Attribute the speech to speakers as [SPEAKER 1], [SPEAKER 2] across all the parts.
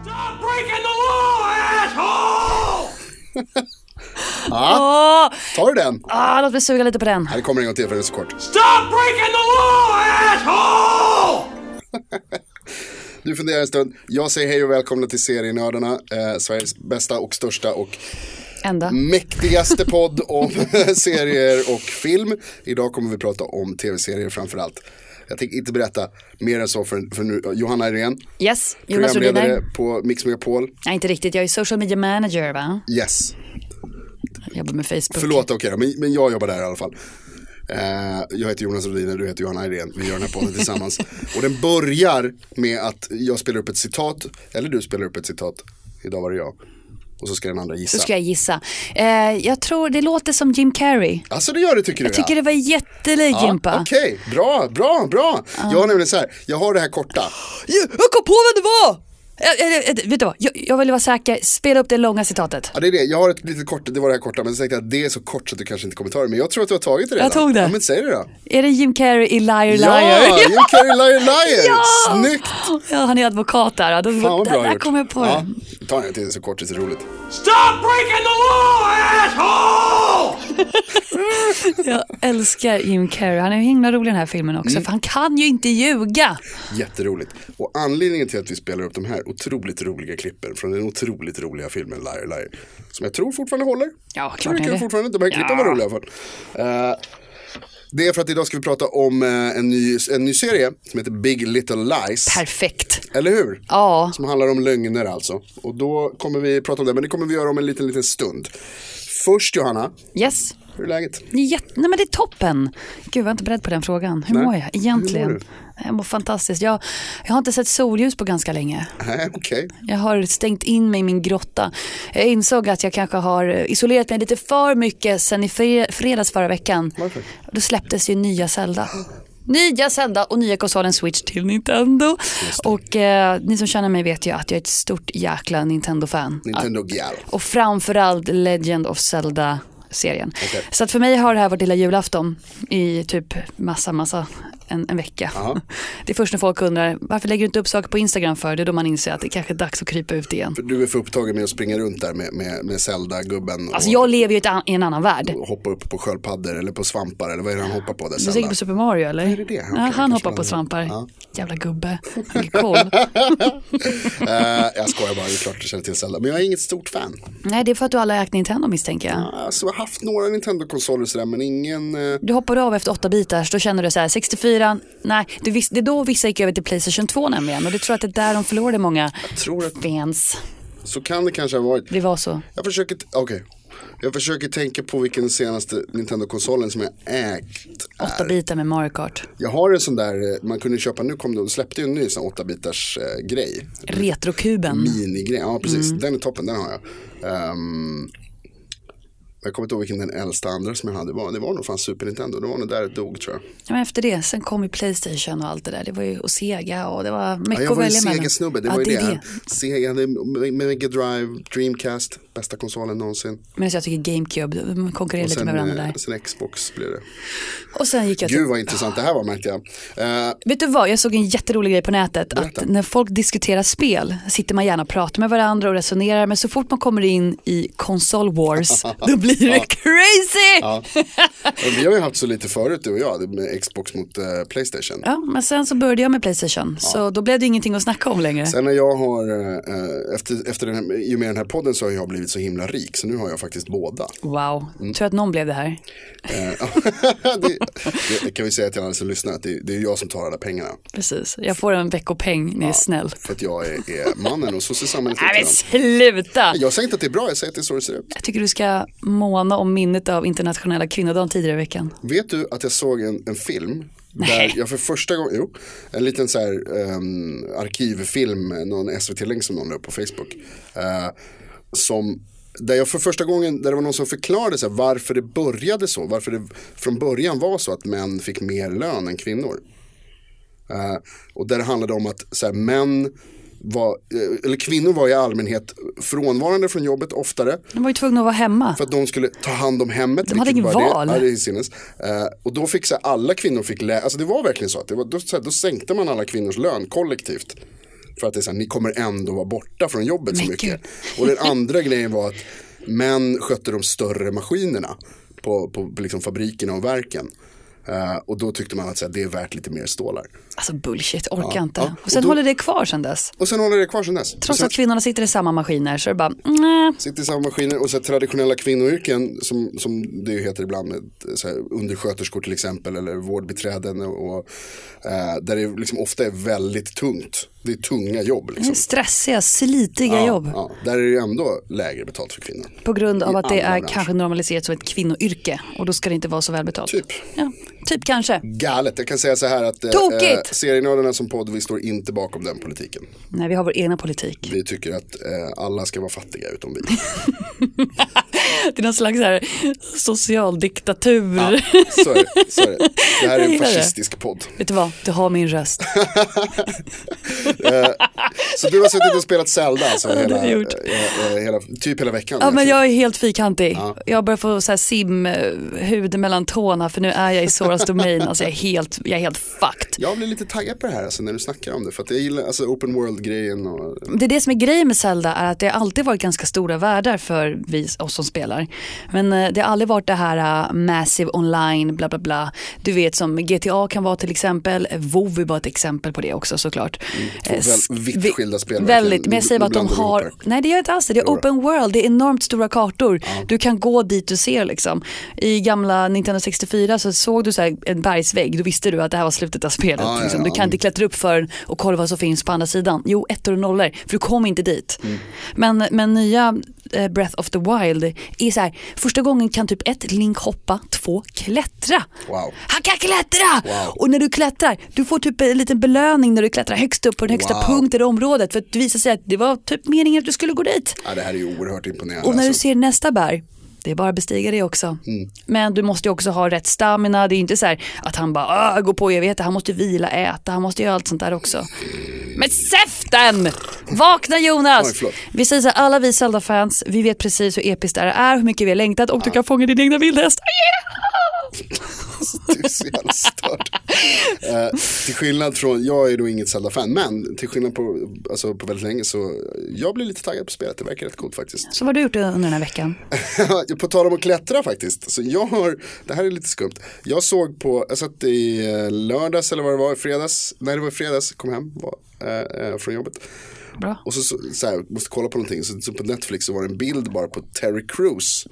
[SPEAKER 1] Stop breaking the law, asshole!
[SPEAKER 2] Ja,
[SPEAKER 3] Åh,
[SPEAKER 2] tar du den?
[SPEAKER 3] ah, låt mig suga lite på den.
[SPEAKER 2] Här kommer en gång till för den är så kort.
[SPEAKER 1] Stop breaking the law, asshole!
[SPEAKER 2] Du funderar en stund. Jag säger hej och välkomna till Serienördarna, eh, Sveriges bästa och största och
[SPEAKER 3] Ända.
[SPEAKER 2] Mm. mäktigaste podd om serier och film. Idag kommer vi prata om tv-serier framför allt. Jag tänker inte berätta mer än så för, för nu. Johanna Irene,
[SPEAKER 3] Yes, Jonas
[SPEAKER 2] programledare
[SPEAKER 3] Rhodiner.
[SPEAKER 2] på Mix Megapol.
[SPEAKER 3] Nej, inte riktigt. Jag är social media manager, va?
[SPEAKER 2] Yes,
[SPEAKER 3] Jag jobbar med Facebook.
[SPEAKER 2] förlåt okej då, men, men jag jobbar där i alla fall. Eh, jag heter Jonas Rhodiner, du heter Johanna Irene, vi gör den här podden tillsammans. Och den börjar med att jag spelar upp ett citat, eller du spelar upp ett citat, idag var det jag. Och så ska den andra
[SPEAKER 3] Då
[SPEAKER 2] gissa.
[SPEAKER 3] ska jag gissa. Eh, jag tror det låter som Jim Carrey.
[SPEAKER 2] Alltså det gör det tycker
[SPEAKER 3] Jag
[SPEAKER 2] du ja.
[SPEAKER 3] tycker det var jättelikt
[SPEAKER 2] Ja,
[SPEAKER 3] Jimpa.
[SPEAKER 2] Okej, bra, bra, bra. Jag har nämligen så här, jag har det här korta.
[SPEAKER 3] Jag jag kom på vad det var! Eh, eh, eh, vet du vad, jag, jag ville vara säker. Spela upp det långa citatet.
[SPEAKER 2] Ja, det är det. Jag har ett litet kort, det var det här korta, men så tänkte jag att det är så kort så att du kanske inte kommer ta det. Men jag tror att du har tagit det redan.
[SPEAKER 3] Jag tog det.
[SPEAKER 2] Ja, men säg det då.
[SPEAKER 3] Är det Jim Carrey i Liar Liar?
[SPEAKER 2] Ja, you carry liar liar. Snyggt.
[SPEAKER 3] Ja, han är advokat där. Ja, Då,
[SPEAKER 2] Fan vad bra
[SPEAKER 3] där, där
[SPEAKER 2] gjort.
[SPEAKER 3] kom jag på
[SPEAKER 2] ja,
[SPEAKER 3] det.
[SPEAKER 2] Ta den till det är så kort, det är så roligt.
[SPEAKER 1] Stop breaking the law, asshole!
[SPEAKER 3] Jag älskar Jim Carrey. Han är ju himla rolig i den här filmen också.
[SPEAKER 2] Mm.
[SPEAKER 3] För han kan ju inte ljuga.
[SPEAKER 2] Jätteroligt. Och anledningen till att vi spelar upp de här otroligt roliga klippen från den otroligt roliga filmen Liar Liar. Som jag tror fortfarande håller.
[SPEAKER 3] Ja, klart
[SPEAKER 2] Jag
[SPEAKER 3] är
[SPEAKER 2] tycker
[SPEAKER 3] det.
[SPEAKER 2] fortfarande inte, de här klippen var roliga i alla fall. Eh, det är för att idag ska vi prata om eh, en, ny, en ny serie som heter Big Little Lies.
[SPEAKER 3] Perfekt.
[SPEAKER 2] Eller hur?
[SPEAKER 3] Ja.
[SPEAKER 2] Som handlar om lögner alltså. Och då kommer vi prata om det, men det kommer vi göra om en liten, liten stund. Först Johanna,
[SPEAKER 3] Yes.
[SPEAKER 2] hur är läget?
[SPEAKER 3] Det är jätte- Nej men det är toppen. Gud jag var inte beredd på den frågan. Hur mår jag egentligen?
[SPEAKER 2] Hur mår
[SPEAKER 3] jag mår fantastiskt. Jag, jag har inte sett solljus på ganska länge.
[SPEAKER 2] Nej, okej.
[SPEAKER 3] Jag har stängt in mig i min grotta. Jag insåg att jag kanske har isolerat mig lite för mycket sen i fre- fredags förra veckan.
[SPEAKER 2] Varför?
[SPEAKER 3] Då släpptes ju nya Zelda. Nya Zelda och nya konsolen Switch till Nintendo. Och eh, ni som känner mig vet ju att jag är ett stort jäkla Nintendo-fan.
[SPEAKER 2] Nintendo Gal.
[SPEAKER 3] Och framförallt Legend of Zelda serien. Så att för mig har det här varit lilla julafton i typ massa, massa en, en vecka. Det är först när folk undrar varför lägger du inte upp saker på Instagram för? Det är då man inser att det kanske är dags att krypa ut igen.
[SPEAKER 2] Du är för upptagen med att springa runt där med, med, med Zelda-gubben och
[SPEAKER 3] Alltså jag lever ju i ett an- i en annan värld.
[SPEAKER 2] hoppa upp på sköldpaddor eller på svampar eller vad är det han hoppar på där
[SPEAKER 3] Du tänker
[SPEAKER 2] Zelda?
[SPEAKER 3] på Super Mario eller?
[SPEAKER 2] det det? Okej,
[SPEAKER 3] ja,
[SPEAKER 2] kanske
[SPEAKER 3] han hoppar
[SPEAKER 2] man-
[SPEAKER 3] på svampar.
[SPEAKER 2] Ja.
[SPEAKER 3] Jävla gubbe. Han är cool.
[SPEAKER 2] Eh, jag skojar bara, det är klart du känner till Zelda. Men jag är inget stort fan.
[SPEAKER 3] Nej, det är för att du alla ägt Nintendo misstänker jag.
[SPEAKER 2] Alltså, jag har haft några Nintendo-konsoler sådär, men ingen... eh,
[SPEAKER 3] Du hoppade av efter åtta bitar, så då känner du så här 64, nej, du vis- det är då vissa gick över till Playstation 2 nämligen och du tror att det är där de förlorade många
[SPEAKER 2] tror att-
[SPEAKER 3] fans.
[SPEAKER 2] Så kan det kanske ha varit.
[SPEAKER 3] Det var så.
[SPEAKER 2] Jag försöker, t- okej. Jag försöker tänka på vilken senaste Nintendo-konsolen som jag ägt
[SPEAKER 3] Åtta bitar med Mario Kart.
[SPEAKER 2] Jag har en sån där, eh, man kunde köpa, nu kom de, de släppte ju en ny sån 8-bitars eh, grej.
[SPEAKER 3] Retrokuben.
[SPEAKER 2] Minigrej, ja precis,
[SPEAKER 3] Mm.
[SPEAKER 2] den är toppen, den har jag. Ehm, jag kommer inte ihåg vilken den äldsta andra som jag hade var, det var nog fan Super Nintendo, det var nog där det dog tror jag.
[SPEAKER 3] Ja, men efter det, sen kom ju Playstation och allt det där. Det var ju och Sega och det var mycket
[SPEAKER 2] Ja, jag
[SPEAKER 3] att
[SPEAKER 2] var ju
[SPEAKER 3] välja mellan.
[SPEAKER 2] Sega-snubbe, det
[SPEAKER 3] ja,
[SPEAKER 2] var ju
[SPEAKER 3] det.
[SPEAKER 2] det.
[SPEAKER 3] är det.
[SPEAKER 2] Sega, hade M- Mega Drive, Dreamcast, bästa konsolen någonsin.
[SPEAKER 3] Men jag tycker GameCube, de konkurrerar lite
[SPEAKER 2] Sen,
[SPEAKER 3] med varandra
[SPEAKER 2] eh,
[SPEAKER 3] där.
[SPEAKER 2] sen Xbox blev det.
[SPEAKER 3] Och sen gick jag till
[SPEAKER 2] Gud vad intressant det här var märkte jag. Eh,
[SPEAKER 3] Vet du vad, jag såg en jätterolig grej på nätet. Att när folk diskuterar spel sitter man gärna och pratar med varandra och resonerar. Men så fort man kommer in i console wars, då blir det crazy! Ja.
[SPEAKER 2] vi har ju haft så lite förut du och jag, det med Xbox mot eh, Playstation.
[SPEAKER 3] men sen så började jag med Playstation. Så då blev det ingenting att snacka om längre.
[SPEAKER 2] Sen när jag har, eh, efter, efter den här, i och med den här podden så har jag blivit så himla rik så nu har jag faktiskt båda.
[SPEAKER 3] Wow,
[SPEAKER 2] Mm.
[SPEAKER 3] tror att någon blev det här.
[SPEAKER 2] det, det kan vi säga till alla som lyssnar att det, det är jag som tar alla pengarna.
[SPEAKER 3] Precis, jag får en veckopeng när jag är snäll.
[SPEAKER 2] För att jag är, är mannen och så ser samhället ut
[SPEAKER 3] Nej men
[SPEAKER 2] idag.
[SPEAKER 3] sluta!
[SPEAKER 2] Jag säger inte att det är bra, jag säger att det är så det ser ut.
[SPEAKER 3] Jag tycker du ska måna om minnet av internationella kvinnodagen tidigare i veckan.
[SPEAKER 2] Vet du att jag såg en, en film Där jag för första gången, jo, en liten så här ehm, arkivfilm, någon SVT-länk som någon la upp på Facebook. eh, som, där jag för första gången, där det var någon som förklarade så här, varför det började så, varför det från början var så att män fick mer lön än kvinnor. Eh, och där det handlade om att så här, män var, eh, eller kvinnor var i allmänhet frånvarande från jobbet oftare.
[SPEAKER 3] De var ju tvungna att vara hemma.
[SPEAKER 2] För att de skulle ta hand om hemmet.
[SPEAKER 3] De hade
[SPEAKER 2] vilket
[SPEAKER 3] inget
[SPEAKER 2] var
[SPEAKER 3] val.
[SPEAKER 2] Det, ja, det är sinnes. Eh, och då fick så här, alla kvinnor fick lä- alltså det var verkligen så att det var, då, så här, då sänkte man alla kvinnors lön kollektivt. För att det är så här, ni kommer ändå vara borta från jobbet så
[SPEAKER 3] Men
[SPEAKER 2] mycket. Och den andra grejen var att män skötte de större maskinerna på, på, på liksom fabrikerna och verken. Eh, och då tyckte man att så här, det är värt lite mer stålar.
[SPEAKER 3] Alltså bullshit, orkar inte.
[SPEAKER 2] ja.
[SPEAKER 3] Och sen
[SPEAKER 2] Och då-
[SPEAKER 3] håller det kvar sen dess.
[SPEAKER 2] Och sen håller det kvar sen dess. Och
[SPEAKER 3] Trots
[SPEAKER 2] sen,
[SPEAKER 3] att kvinnorna sitter i samma maskiner så är det bara, nej.
[SPEAKER 2] Sitter i samma maskiner och så här, traditionella kvinnoyrken som, som det ju heter ibland, eh, så här, undersköterskor till exempel eller vårdbiträden och, och eh, där det liksom ofta är väldigt tungt. Det är tunga jobb
[SPEAKER 3] Det är
[SPEAKER 2] liksom.
[SPEAKER 3] stressiga, slitiga jobb.
[SPEAKER 2] Ja, där är det ju ändå lägre betalt för kvinnor.
[SPEAKER 3] På grund av
[SPEAKER 2] I
[SPEAKER 3] att det
[SPEAKER 2] andra
[SPEAKER 3] är
[SPEAKER 2] branscher.
[SPEAKER 3] kanske normaliserat som ett kvinnoyrke och då ska det inte vara så välbetalt.
[SPEAKER 2] Typ. Mm.
[SPEAKER 3] Ja, typ kanske.
[SPEAKER 2] Galet, jag kan säga så här att eh,
[SPEAKER 3] Tokigt!
[SPEAKER 2] eh, serienördarna som podd, vi står inte bakom den politiken.
[SPEAKER 3] Nej, vi har vår egna politik.
[SPEAKER 2] Vi tycker att eh, alla ska vara fattiga utom vi.
[SPEAKER 3] Det är någon slags så här social diktatur.
[SPEAKER 2] Så är det. Så är det. det här är
[SPEAKER 3] Jag
[SPEAKER 2] en
[SPEAKER 3] gillar det.
[SPEAKER 2] fascistisk podd.
[SPEAKER 3] Vet du vad, du har min röst.
[SPEAKER 2] Så du har suttit och spelat Zelda alltså,
[SPEAKER 3] det har
[SPEAKER 2] hela,
[SPEAKER 3] jag gjort.
[SPEAKER 2] eh, eh, hela, typ hela veckan?
[SPEAKER 3] Ja, men
[SPEAKER 2] Alltså.
[SPEAKER 3] jag är helt fyrkantig. Jag börjar få så här simhud mellan tårna för nu är jag i Soras domain. Alltså jag är helt, jag är helt fucked.
[SPEAKER 2] Jag blir lite taggad på det här alltså, när du snackar om det. För att jag gillar alltså, open world-grejen. Och...
[SPEAKER 3] Det är det som är grejen med Zelda är att det har alltid varit ganska stora världar för vi, oss som spelar. Men eh, det har aldrig varit det här eh, massive online, bla bla bla. Du vet som GTA kan vara till exempel, WoW är bara ett exempel på det också såklart. Eh,
[SPEAKER 2] Mm, väl-
[SPEAKER 3] sk-
[SPEAKER 2] vitt
[SPEAKER 3] vi-
[SPEAKER 2] skilda spel,
[SPEAKER 3] Väldigt,
[SPEAKER 2] verkligen.
[SPEAKER 3] men jag
[SPEAKER 2] Du-
[SPEAKER 3] säger bara att
[SPEAKER 2] du
[SPEAKER 3] de
[SPEAKER 2] blandar
[SPEAKER 3] har,
[SPEAKER 2] ihop
[SPEAKER 3] nej det gör jag inte alls det, det är open world, det är enormt stora kartor. Du kan gå dit du ser liksom. I gamla Nintendo 64 så såg du så här en bergsvägg, då visste du att det här var slutet av spelet.
[SPEAKER 2] Ja, ja,
[SPEAKER 3] liksom.
[SPEAKER 2] ja.
[SPEAKER 3] Du kan inte klättra upp för den och kolla vad som finns på andra sidan. Jo, ettor och nollor, för du kom inte dit.
[SPEAKER 2] Mm.
[SPEAKER 3] Men, men nya eh, Breath of the Wild är så här, första gången kan typ ett Link hoppa, två klättra.
[SPEAKER 2] Wow.
[SPEAKER 3] Han kan klättra!
[SPEAKER 2] Wow.
[SPEAKER 3] Och när du klättrar, du får typ en liten belöning när du klättrar högst upp på den högsta
[SPEAKER 2] Wow.
[SPEAKER 3] punkten i området. För att det visar sig att det var typ meningen att du skulle gå dit.
[SPEAKER 2] Ja, det här är ju oerhört imponerande.
[SPEAKER 3] Och när du
[SPEAKER 2] alltså. Mm.
[SPEAKER 3] ser nästa berg, det är bara att bestiga det också. Men du måste ju också ha rätt stamina. Det är ju inte så här att han bara "Ah, går på evigheter. Han måste ju vila, äta, han måste göra allt sånt där också. Men säften! Vakna Jonas!
[SPEAKER 2] Oj, förlåt.
[SPEAKER 3] vi säger så här, alla vi Zelda-fans, vi vet precis hur episkt det här är, hur mycket vi har längtat och du kan fånga din egna vildhäst.
[SPEAKER 2] Ah, Du är så jävla störd. Eh, till skillnad från, jag är då inget Zelda-fan, men till skillnad på, alltså, på väldigt länge så jag blir lite taggad på spelet, det verkar rätt coolt faktiskt.
[SPEAKER 3] Så vad har du gjort under den här veckan?
[SPEAKER 2] Äh, på tal om att klättra faktiskt. Så jag har, det här är lite skumt. Jag såg på, jag satt i eh, lördags eller vad det var, i fredags. Nej det var i fredags, kom hem var, eh, eh, från jobbet.
[SPEAKER 3] Bra.
[SPEAKER 2] Och så, så, så här, måste kolla på någonting. Så, så på Netflix så var det en bild bara på Terry Crews.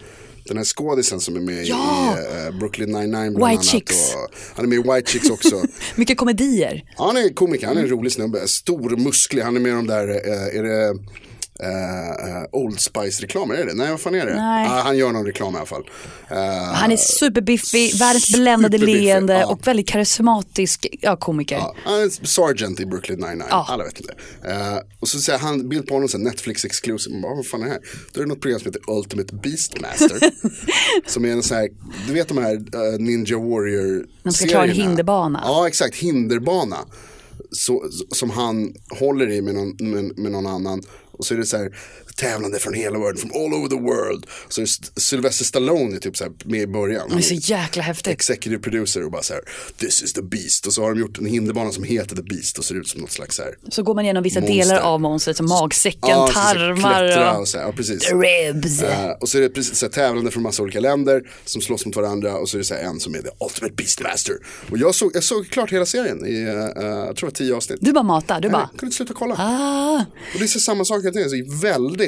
[SPEAKER 2] Den här skådisen som är med
[SPEAKER 3] Ja!
[SPEAKER 2] i eh, Brooklyn 99 bland
[SPEAKER 3] White
[SPEAKER 2] annat.
[SPEAKER 3] Chicks.
[SPEAKER 2] Och, han är med i White Chicks också.
[SPEAKER 3] Mycket komedier.
[SPEAKER 2] Ja, han är komiker, han är en
[SPEAKER 3] Mm.
[SPEAKER 2] rolig snubbe, stor musklig, han är med i de där, eh, är det eh, Old Spice-reklamer, är det? Nej, vad fan är det?
[SPEAKER 3] Nej.
[SPEAKER 2] Ah, han gör någon reklam i alla fall. Eh,
[SPEAKER 3] Han är superbiffig, världens bländande
[SPEAKER 2] superbiffig, Ah.
[SPEAKER 3] leende
[SPEAKER 2] ja.
[SPEAKER 3] och väldigt karismatisk ja, komiker.
[SPEAKER 2] ja, han är sergeant i Brooklyn 99,
[SPEAKER 3] Ja.
[SPEAKER 2] alla vet inte. Eh, och så ser jag han bild på honom, så här Netflix exclusive, Man bara, vad fan är det här? Då är det något program som heter Ultimate Beastmaster. som är en sån här, du vet de här eh, Ninja Warrior
[SPEAKER 3] De ska klara en
[SPEAKER 2] serierna?
[SPEAKER 3] hinderbana.
[SPEAKER 2] Ja, exakt, hinderbana. Så, som han håller i med någon, med, med någon annan. Och så är det så här tävlande från hela världen, from all over the world. Så är det St- Sylvester Stallone är typ så här med i början.
[SPEAKER 3] Det är så jäkla häftigt.
[SPEAKER 2] executive producer och bara så här, this is the beast. Och så har de gjort en hinderbana som heter the beast och ser ut som något slags så här.
[SPEAKER 3] Så går man igenom vissa
[SPEAKER 2] Monster.
[SPEAKER 3] delar av monstret som magsäcken,
[SPEAKER 2] Ja, så- så
[SPEAKER 3] tarmar
[SPEAKER 2] klättra
[SPEAKER 3] och
[SPEAKER 2] och så här, ja, precis.
[SPEAKER 3] ribs.
[SPEAKER 2] Eh, och så är det precis så här, tävlande från massa olika länder som slåss mot varandra och så är det så här, en som är the ultimate beastmaster. Och jag såg, jag såg klart hela serien i, eh, eh, jag tror det var tio avsnitt. Eh,
[SPEAKER 3] Du bara matar, du bara
[SPEAKER 2] Jag kunde inte sluta kolla.
[SPEAKER 3] ah.
[SPEAKER 2] Och det är så samma sak hela tiden, så det är väldigt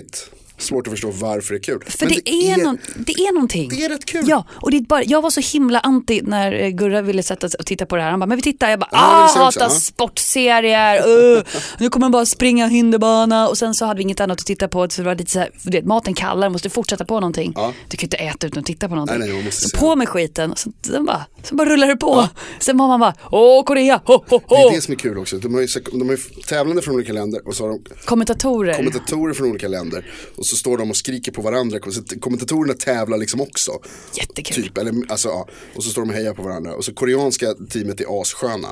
[SPEAKER 2] Svårt att förstå varför det är kul.
[SPEAKER 3] För det, är någon, det är någonting.
[SPEAKER 2] det är rätt kul.
[SPEAKER 3] Ja, och det är bara, jag var så himla anti när eh, Gurra ville sätta sig och titta på det här. Han bara, men vi tittar. Jag bara,
[SPEAKER 2] Ja, det
[SPEAKER 3] ah,
[SPEAKER 2] ser ut så,
[SPEAKER 3] hatar
[SPEAKER 2] ja."
[SPEAKER 3] sportserier. Uh, nu kommer man bara springa hinderbana. Och sen så hade vi inget annat att titta på. Så det var lite så här, du vet, maten kallar, måste fortsätta på någonting. Du kan ju inte äta utan att titta på någonting.
[SPEAKER 2] Nej, nej, man måste
[SPEAKER 3] så
[SPEAKER 2] se.
[SPEAKER 3] på med skiten. Och sen, sen, bara, sen bara rullar det på. Sen var man bara, åh Korea, ho, ho,
[SPEAKER 2] Det
[SPEAKER 3] ho.
[SPEAKER 2] är det som är kul också. De har ju, de har ju tävlande från olika länder och så har de
[SPEAKER 3] Kommentatorer.
[SPEAKER 2] kommentatorer från olika länder. Och så står de och skriker på varandra. Så kommentatorerna tävlar liksom också.
[SPEAKER 3] Jättekul.
[SPEAKER 2] Typ, eller, alltså, ja. Och så står de och hejar på varandra. Och så koreanska teamet är assköna.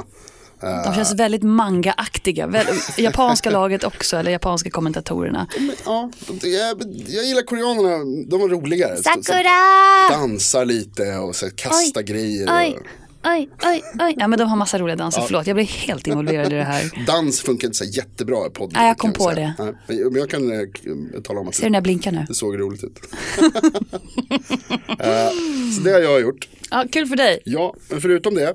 [SPEAKER 3] De känns väldigt manga-aktiga. Väl, japanska laget också, eller japanska kommentatorerna.
[SPEAKER 2] Men, ja, de- jag, jag gillar koreanerna, de var roligare.
[SPEAKER 3] Sakura!
[SPEAKER 2] Dansar lite och så här, kastar grejer.
[SPEAKER 3] Oj,
[SPEAKER 2] Och,
[SPEAKER 3] oj, oj, oj. Ja men de har massa roliga danser, förlåt jag blir helt involverad i det här.
[SPEAKER 2] dans funkar inte så här jättebra i podden.
[SPEAKER 3] Nej, jag kom
[SPEAKER 2] kan
[SPEAKER 3] på
[SPEAKER 2] säga. Nej, men- men jag kan eh, k- tala om att
[SPEAKER 3] Ser du när jag blinkar nu?
[SPEAKER 2] det såg roligt ut. Eh, så det har jag gjort.
[SPEAKER 3] Ja, kul för dig.
[SPEAKER 2] Ja, men förutom det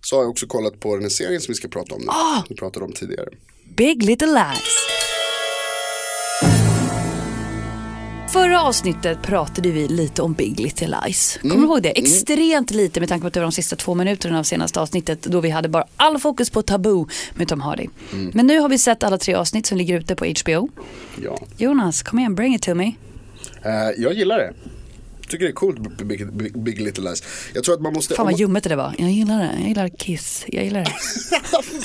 [SPEAKER 2] så har jag också kollat på den här serien som vi ska prata om nu.
[SPEAKER 3] Ah!
[SPEAKER 2] Vi pratade om tidigare.
[SPEAKER 3] Big Little Lies. Förra avsnittet pratade vi lite om Big Little Lies. Kommer
[SPEAKER 2] Mm.
[SPEAKER 3] du ihåg det? Extremt lite med tanke på att det var de sista två minuterna av senaste avsnittet då vi hade bara all fokus på Tabu med Tom Hardy.
[SPEAKER 2] Mm.
[SPEAKER 3] Men nu har vi sett alla tre avsnitt som ligger ute på HBO.
[SPEAKER 2] Ja.
[SPEAKER 3] Jonas, kom igen, bring it to me.
[SPEAKER 2] Eh, jag gillar det. Tycker det är coolt b- Big, big, big Little Lies. Jag tror att man måste...
[SPEAKER 3] Fan
[SPEAKER 2] om
[SPEAKER 3] vad
[SPEAKER 2] man-
[SPEAKER 3] ljummet det där var. Jag gillar det, jag gillar Kiss, jag gillar det.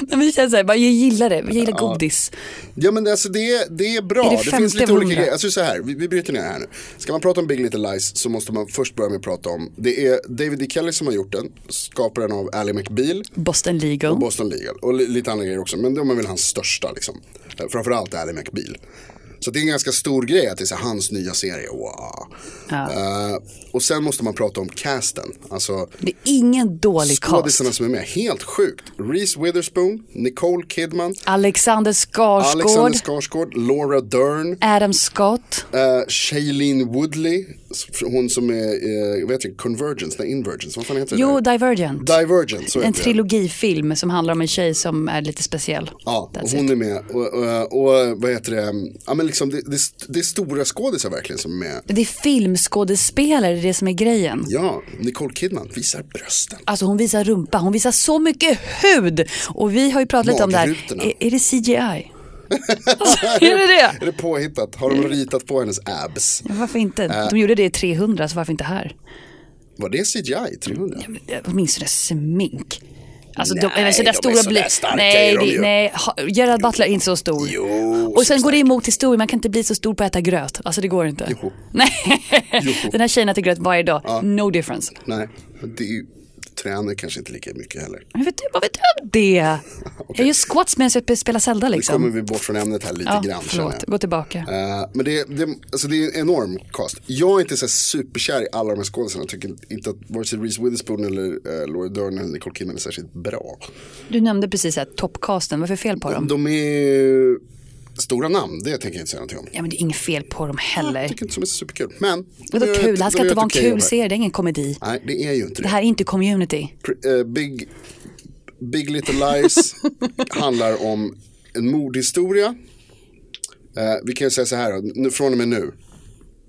[SPEAKER 3] Nej, men det känns så här, bara, jag gillar det, jag gillar godis.
[SPEAKER 2] Ja men alltså det, är- det är bra.
[SPEAKER 3] Är det
[SPEAKER 2] det, finns lite
[SPEAKER 3] 50
[SPEAKER 2] olika
[SPEAKER 3] hundra?
[SPEAKER 2] grejer. Alltså så här, vi, vi bryter ner här nu. Ska man prata om Big Little Lies så måste man först börja med att prata om. Det är David D. Kelly som har gjort den. Skaparen av Ally McBeal
[SPEAKER 3] Boston Legal.
[SPEAKER 2] och Boston Legal. Och li, lite andra grejer också. Men de är väl hans största liksom. Eh, Framförallt Ally McBeal. Så det är en ganska stor grej att det är så här, hans nya serie. Wow.
[SPEAKER 3] Ja.
[SPEAKER 2] Eh, och sen måste man prata om casten. Alltså
[SPEAKER 3] Det är ingen dålig cast.
[SPEAKER 2] skådisarna som är med. Helt sjukt. Reese Witherspoon, Nicole Kidman,
[SPEAKER 3] Alexander Skarsgård,
[SPEAKER 2] Alexander Skarsgård, Laura Dern.
[SPEAKER 3] Adam Scott,
[SPEAKER 2] Uh, Shailene Woodley, hon som är, uh, vad heter det, Convergence, nej Invergence, vad fan heter
[SPEAKER 3] jo
[SPEAKER 2] det?
[SPEAKER 3] Divergent.
[SPEAKER 2] Divergence, så
[SPEAKER 3] en
[SPEAKER 2] heter det.
[SPEAKER 3] trilogifilm som handlar om en tjej som är lite speciell.
[SPEAKER 2] Ja, och
[SPEAKER 3] That's
[SPEAKER 2] hon
[SPEAKER 3] it.
[SPEAKER 2] är med. Och, och, och vad heter det, ja men liksom det, det, det är stora skådisar verkligen som är med.
[SPEAKER 3] Det är filmskådespelare, det är det som är grejen.
[SPEAKER 2] Ja, Nicole Kidman visar brösten.
[SPEAKER 3] Alltså hon visar rumpa, hon visar så mycket hud. Och vi har ju pratat lite om det här.
[SPEAKER 2] Magrutorna.
[SPEAKER 3] Är, är det CGI? alltså, är det det?
[SPEAKER 2] Är det påhittat? Har de ritat på hennes abs?
[SPEAKER 3] Men Varför
[SPEAKER 2] Äh.
[SPEAKER 3] inte? De gjorde det i 300, så varför inte här?
[SPEAKER 2] Var det CGI 300?
[SPEAKER 3] Eh, Åtminstone smink. Alltså, de,
[SPEAKER 2] Nej,
[SPEAKER 3] nej, så
[SPEAKER 2] de
[SPEAKER 3] där
[SPEAKER 2] är
[SPEAKER 3] stora
[SPEAKER 2] så där
[SPEAKER 3] blir-
[SPEAKER 2] starka
[SPEAKER 3] nej,
[SPEAKER 2] är de ju.
[SPEAKER 3] det, nej, ha- Gerard Butler är inte så stor.
[SPEAKER 2] Jo,
[SPEAKER 3] och sen går det emot historien, man kan inte bli så stor på att äta gröt. Alltså det går inte.
[SPEAKER 2] Jo.
[SPEAKER 3] Nej.
[SPEAKER 2] Jo.
[SPEAKER 3] Den här tjejen äter gröt varje dag, no difference.
[SPEAKER 2] Nej, men det är ju, tränar kanske inte lika mycket heller.
[SPEAKER 3] Men vet du, vad vet du om det? Jag gör squats medan jag spelar Zelda
[SPEAKER 2] Nu kommer
[SPEAKER 3] liksom.
[SPEAKER 2] vi bort från ämnet här lite
[SPEAKER 3] Ja,
[SPEAKER 2] grann känner
[SPEAKER 3] förlåt,
[SPEAKER 2] jag.
[SPEAKER 3] gå tillbaka.
[SPEAKER 2] Eh, men det, det, alltså det är en enorm cast. Jag är inte så här superkär i alla de här skådisarna. Jag tycker inte att vare sig Reese Witherspoon eller eh, Laura Dern eller Nicole Kidman är särskilt bra.
[SPEAKER 3] Du nämnde precis här toppcasten, vad är för fel på dem?
[SPEAKER 2] De är eh, stora namn, det tänker jag inte säga någonting om.
[SPEAKER 3] Ja men det är inget fel på dem
[SPEAKER 2] Jag
[SPEAKER 3] heller.
[SPEAKER 2] tycker inte som är så superkul. Men. de
[SPEAKER 3] Vadå
[SPEAKER 2] gör
[SPEAKER 3] kul,
[SPEAKER 2] ett-
[SPEAKER 3] det här ska
[SPEAKER 2] de
[SPEAKER 3] inte
[SPEAKER 2] gör
[SPEAKER 3] vara en
[SPEAKER 2] ett okej jobb
[SPEAKER 3] kul
[SPEAKER 2] här.
[SPEAKER 3] serie, det är ingen komedi.
[SPEAKER 2] Nej, det är ju inte det.
[SPEAKER 3] Det här är inte community.
[SPEAKER 2] Pr- eh, Big, Big Little Lies handlar om en mordhistoria. Eh, vi kan ju säga så här, då, nu, från och med nu.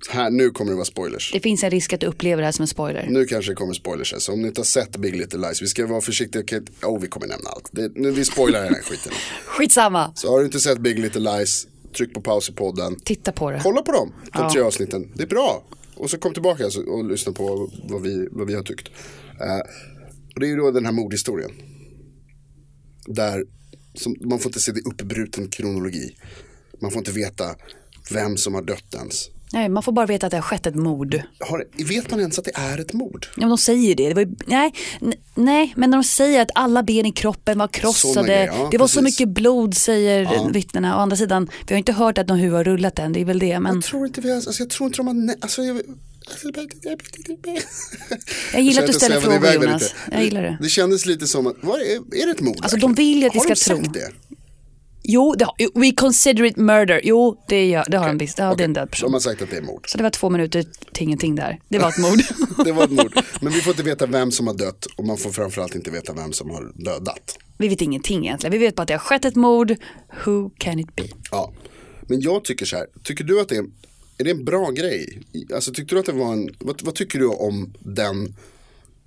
[SPEAKER 2] Här, nu kommer det vara spoilers.
[SPEAKER 3] Det finns en risk att du upplever det här som en spoiler.
[SPEAKER 2] Nu kanske det kommer spoilers här, så om ni inte har sett Big Little Lies, vi ska vara försiktiga, okej, oh, vi kommer nämna allt. Det, nu, vi spoilar den här skiten.
[SPEAKER 3] Skitsamma,
[SPEAKER 2] Så har du inte sett Big Little Lies, tryck på paus i podden.
[SPEAKER 3] titta på det.
[SPEAKER 2] Kolla på dem, de
[SPEAKER 3] Ja.
[SPEAKER 2] tre avsnitten, det är bra. Och så kom tillbaka så- och lyssna på vad vi, vad vi har tyckt. Eh, och det är ju då den här mordhistorien. Där, som, man får inte se det i uppbruten kronologi. Man får inte veta vem som har dött ens.
[SPEAKER 3] Nej, man får bara veta att det har skett ett mord.
[SPEAKER 2] Har, vet man ens att det är ett mord?
[SPEAKER 3] Ja, men de säger det. det var ju, nej, n- nej, men när de säger att alla ben i kroppen var krossade.
[SPEAKER 2] Såna grejer, ja,
[SPEAKER 3] det var så
[SPEAKER 2] precis.
[SPEAKER 3] mycket blod säger vittnena. Å andra sidan, vi har inte hört att någon huvud har rullat än. Det är väl det. Men
[SPEAKER 2] Jag tror inte vi har, alltså jag tror inte de har, nä- alltså jag
[SPEAKER 3] jag gillar att du
[SPEAKER 2] svävade
[SPEAKER 3] ställer frågor
[SPEAKER 2] iväg där
[SPEAKER 3] Jonas.
[SPEAKER 2] lite.
[SPEAKER 3] Jag gillar det.
[SPEAKER 2] Det kändes lite som att, vad är, är det ett mord?
[SPEAKER 3] Alltså,
[SPEAKER 2] verkligen?
[SPEAKER 3] de vill ju att vi
[SPEAKER 2] har
[SPEAKER 3] ska
[SPEAKER 2] de
[SPEAKER 3] tro.
[SPEAKER 2] sagt det?
[SPEAKER 3] Jo, det har, jo, we consider it murder. Jo, det, gör, det har de visst. Ja, det är en död person.
[SPEAKER 2] De har sagt att det är mord.
[SPEAKER 3] Så det var två minuter till ingenting där. Det var ett mord.
[SPEAKER 2] Det var ett mord. Men vi får inte veta vem som har dött och man får framförallt inte veta vem som har dödat.
[SPEAKER 3] vi vet ingenting egentligen. Vi vet bara att det har skett ett mord. Who can it be?
[SPEAKER 2] Ja. Men jag tycker så här, tycker du att det är, är det en bra grej? Alltså tyckte du att det var en, vad, vad tycker du om den?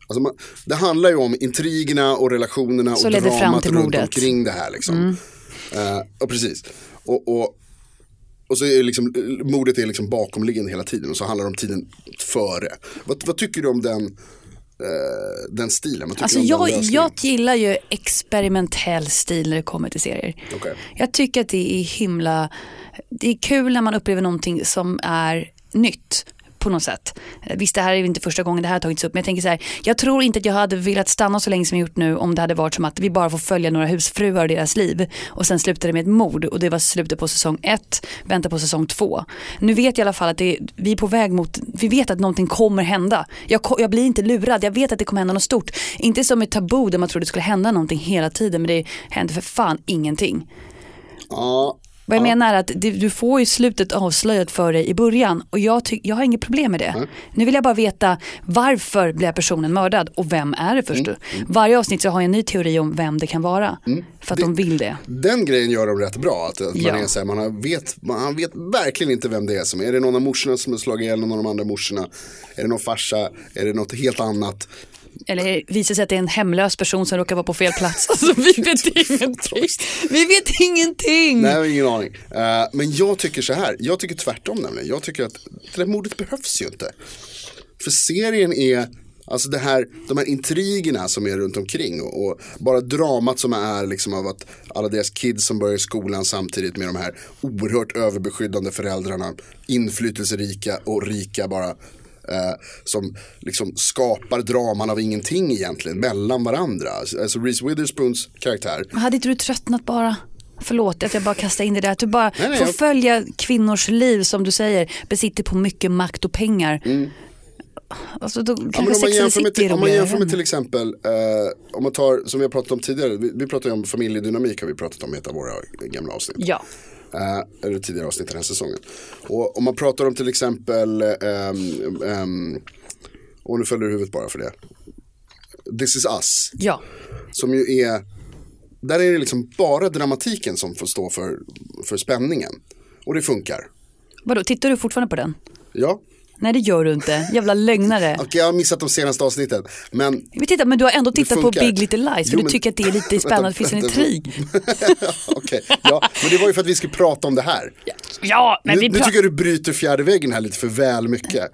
[SPEAKER 2] Alltså man, det handlar ju om intrigerna och relationerna
[SPEAKER 3] Så
[SPEAKER 2] och
[SPEAKER 3] ledde fram
[SPEAKER 2] dramat
[SPEAKER 3] till
[SPEAKER 2] runt
[SPEAKER 3] mordet. Mm.
[SPEAKER 2] omkring det här liksom. Eh, och precis. Och, och, och så är det liksom, mordet är liksom bakomliggande hela tiden och så handlar det om tiden före. Vad, vad tycker du om den, eh, den stilen? Vad tycker
[SPEAKER 3] Alltså
[SPEAKER 2] du om
[SPEAKER 3] jag,
[SPEAKER 2] den lösningen?
[SPEAKER 3] jag gillar ju experimentell stil när det kommer till serier.
[SPEAKER 2] Okej.
[SPEAKER 3] Jag tycker att det är himla, det är kul när man upplever någonting som är nytt på något sätt. Eh, Visst det här är ju inte första gången det här har tagits upp men jag tänker så här, jag tror inte att jag hade velat stanna så länge som jag gjort nu om det hade varit som att vi bara får följa några husfruar och deras liv och sen slutade det med ett mord och det var slutet på säsong ett, vänta på säsong två. Nu vet jag i alla fall att det, vi är på väg mot, vi vet att någonting kommer hända. Jag, ko- jag blir inte lurad, jag vet att det kommer hända något stort. Inte som ett tabu där man trodde det skulle hända någonting hela tiden men det händer för fan ingenting.
[SPEAKER 2] Ja,
[SPEAKER 3] Vad jag menar är att du, du får ju slutet avslöjat för dig i början och jag, ty- jag har inget problem med det.
[SPEAKER 2] Mm.
[SPEAKER 3] Nu vill jag bara veta varför blev personen mördad och vem är det först?
[SPEAKER 2] Mm.
[SPEAKER 3] Varje avsnitt så har jag en ny teori om vem det kan vara. För att de vill det.
[SPEAKER 2] Den grejen gör de rätt bra. Att, att man
[SPEAKER 3] Ja.
[SPEAKER 2] är så här, man har- vet, man, han vet verkligen inte vem det är som är. Är det någon av morsorna som har slagit ihjäl någon av de andra morsorna? Är det någon farsa? Är det något helt annat?
[SPEAKER 3] Eller visar sig att det är en hemlös person som råkar vara på fel plats. Alltså vi vet ingenting. Vi vet ingenting.
[SPEAKER 2] Nej, jag har ingen aning. Eh, men jag tycker så här, jag tycker tvärtom nämligen. Jag tycker att det där mordet behövs ju inte. För serien är, alltså det här, de här intrigerna som är runt omkring och, och bara dramat som är liksom av att alla deras kids som börjar i skolan samtidigt med de här oerhört överbeskyddande föräldrarna, inflytelserika och rika bara. eh, som liksom skapar draman av ingenting egentligen mellan varandra. Alltså Reese Witherspoons karaktär
[SPEAKER 3] Hade inte du tröttnat bara? Förlåt att jag bara kastar in det där. Att du bara
[SPEAKER 2] Nej, nej,
[SPEAKER 3] får
[SPEAKER 2] jag-
[SPEAKER 3] följa kvinnors liv som du säger. Besitter på mycket makt och pengar. Alltså då
[SPEAKER 2] Mm. Ja,
[SPEAKER 3] kanske
[SPEAKER 2] men om, man
[SPEAKER 3] Sex and the
[SPEAKER 2] jämför med,
[SPEAKER 3] City
[SPEAKER 2] till-
[SPEAKER 3] är
[SPEAKER 2] om man jämför med
[SPEAKER 3] roligare.
[SPEAKER 2] till exempel, eh, om man tar, som vi har pratat om tidigare, vi, vi pratar ju om familjedynamik har vi pratat om i ett av våra gamla avsnitt.
[SPEAKER 3] Ja.
[SPEAKER 2] Eh, eller tidigare avsnitt den här säsongen. Och om man pratar om till exempel, eh, ehm, ehm, och nu följer du huvudet bara för det. This is us,
[SPEAKER 3] ja.
[SPEAKER 2] som ju är, där är det liksom bara dramatiken som får stå för, för spänningen. Och det funkar.
[SPEAKER 3] Vadå, tittar du fortfarande på den?
[SPEAKER 2] Ja,
[SPEAKER 3] Nej det gör du inte, jävla lögnare.
[SPEAKER 2] okej jag har missat de senaste avsnitten. Men
[SPEAKER 3] Men, titta, men du har ändå tittat på
[SPEAKER 2] funkar.
[SPEAKER 3] Big Little Lies för
[SPEAKER 2] Jo,
[SPEAKER 3] du
[SPEAKER 2] men-
[SPEAKER 3] tycker att det är lite
[SPEAKER 2] Vänta,
[SPEAKER 3] spännande, det finns en
[SPEAKER 2] vänta.
[SPEAKER 3] intrig.
[SPEAKER 2] Okej, ja, men det var ju för att vi skulle prata om det här.
[SPEAKER 3] Ja, men
[SPEAKER 2] nu,
[SPEAKER 3] vi
[SPEAKER 2] nu
[SPEAKER 3] pratar...
[SPEAKER 2] tycker jag du bryter fjärde väggen här lite för väl mycket.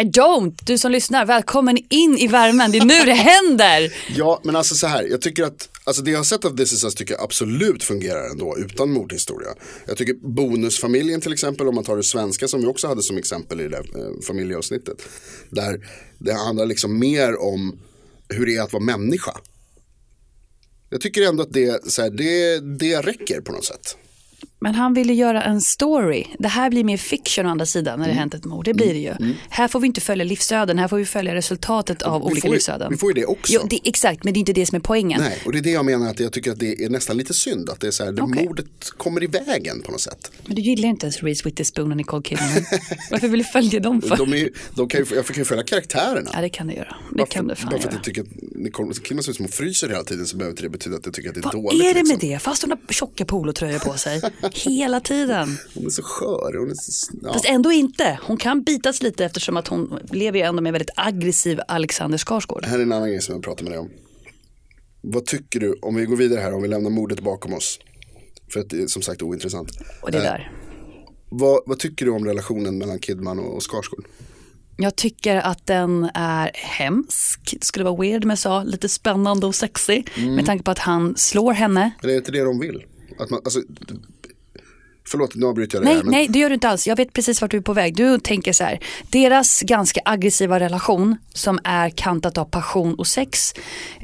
[SPEAKER 3] I don't! Du som lyssnar, välkommen in i värmen, det är nu det händer!
[SPEAKER 2] Ja, men alltså så här, jag tycker att, alltså det jag har sett av This is Us tycker jag absolut fungerar ändå utan mordhistoria. Jag tycker Bonusfamiljen till exempel, om man tar det svenska som vi också hade som exempel i det där eh, familjeavsnittet. Där det handlar liksom mer om hur det är att vara människa. Jag tycker ändå att det, så här, det, det räcker på något sätt.
[SPEAKER 3] Men han ville göra en story. Det här blir mer fiction å andra sidan när det
[SPEAKER 2] Mm.
[SPEAKER 3] hänt ett mord. Det blir det ju. Här får vi inte följa livsöden, här får vi följa resultatet av
[SPEAKER 2] vi
[SPEAKER 3] olika
[SPEAKER 2] får ju-
[SPEAKER 3] livsöden.
[SPEAKER 2] vi får ju det också.
[SPEAKER 3] Jo, det, exakt, men det är inte det som är poängen.
[SPEAKER 2] Nej, och det är det jag menar att jag tycker att det är nästan lite synd att det är så här, det
[SPEAKER 3] Okej.
[SPEAKER 2] mordet kommer i vägen på något sätt.
[SPEAKER 3] Men du gillar inte ens Reese Witherspoon och Nicole Kidman. Varför vill du följa dem för?
[SPEAKER 2] De är, ju- de kan ju, jag kan ju följa karaktärerna.
[SPEAKER 3] Ja, det kan du göra. Det kan du
[SPEAKER 2] Bara
[SPEAKER 3] fan
[SPEAKER 2] för att
[SPEAKER 3] göra.
[SPEAKER 2] jag tycker att Nicole Kidman ser ut som hon fryser hela tiden så behöver inte det betyda att jag tycker att det är
[SPEAKER 3] Vad
[SPEAKER 2] dåligt.
[SPEAKER 3] är det med
[SPEAKER 2] liksom.
[SPEAKER 3] det? Fast hon har tjocka polotröjor på sig hela tiden.
[SPEAKER 2] Hon är så skör. Hon är så, ja.
[SPEAKER 3] Fast ändå inte. Hon kan bitas lite eftersom att hon lever ju ändå med en väldigt aggressiv Alexander Skarsgård.
[SPEAKER 2] Här är en annan grej som jag pratar med dig om. Vad tycker du, om vi går vidare här, om vi lämnar mordet bakom oss. För att det är som sagt ointressant.
[SPEAKER 3] Och det
[SPEAKER 2] Eh,
[SPEAKER 3] där.
[SPEAKER 2] vad, vad tycker du om relationen mellan Kidman och, och Skarsgård?
[SPEAKER 3] Jag tycker att den är hemsk. Det skulle vara weird om jag sa lite spännande och sexy.
[SPEAKER 2] Mm.
[SPEAKER 3] Med tanke på att han slår henne.
[SPEAKER 2] Men är det inte det de vill? Att man, alltså, förlåt, nu avbryter jag det
[SPEAKER 3] Nej,
[SPEAKER 2] här. men-
[SPEAKER 3] nej, det gör du inte alls. Jag vet precis vart du är på väg. Du tänker så här, deras ganska aggressiva relation som är kantat av passion och sex.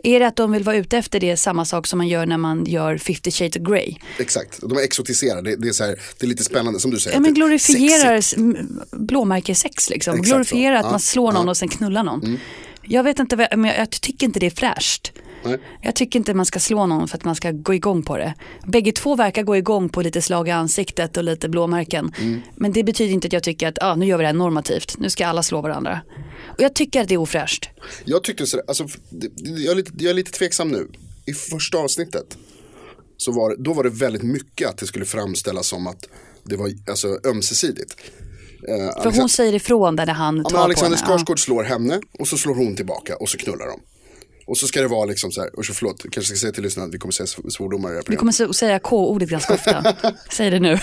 [SPEAKER 3] Är det att de vill vara ute efter det samma sak som man gör när man gör 50 shades of grey?
[SPEAKER 2] Exakt, de är exotiserade. Det, det, är så här, det är lite spännande som du säger.
[SPEAKER 3] Ja, men
[SPEAKER 2] att det är
[SPEAKER 3] glorifierar
[SPEAKER 2] sexigt.
[SPEAKER 3] s- m- blåmärkessex liksom.
[SPEAKER 2] Exakt så.
[SPEAKER 3] glorifierar att
[SPEAKER 2] Ja,
[SPEAKER 3] man slår någon
[SPEAKER 2] ja. Mm.
[SPEAKER 3] och sen knullar någon. Jag vet inte, vad- men jag, jag tycker inte det är fräscht.
[SPEAKER 2] Nej.
[SPEAKER 3] Jag tycker inte man ska slå någon för att man ska gå igång på det. Bägge två verkar gå igång på lite slag i ansiktet och lite blåmärken.
[SPEAKER 2] Mm.
[SPEAKER 3] Men det betyder inte att jag tycker att ah, nu gör vi det här normativt, nu ska alla slå varandra. Och jag tycker att det är ofräscht.
[SPEAKER 2] Jag tyckte sådär, alltså, det, det- jag, är lite, jag är lite tveksam nu. I första avsnittet, så var, det- då var det väldigt mycket att det skulle framställas som att det var alltså ömsesidigt. Eh,
[SPEAKER 3] För hon säger ifrån där när han
[SPEAKER 2] Ja,
[SPEAKER 3] tar
[SPEAKER 2] men Alexander
[SPEAKER 3] på henne.
[SPEAKER 2] Skarsgård slår henne och så slår hon tillbaka och så knullar de. Och så ska det vara liksom så här, usch förlåt, jag kanske ska säga till lyssnarna att vi kommer säga sv- svordomar i det här
[SPEAKER 3] Vi
[SPEAKER 2] programmet.
[SPEAKER 3] kommer så- säga K-ordet ganska ofta. Säg det nu.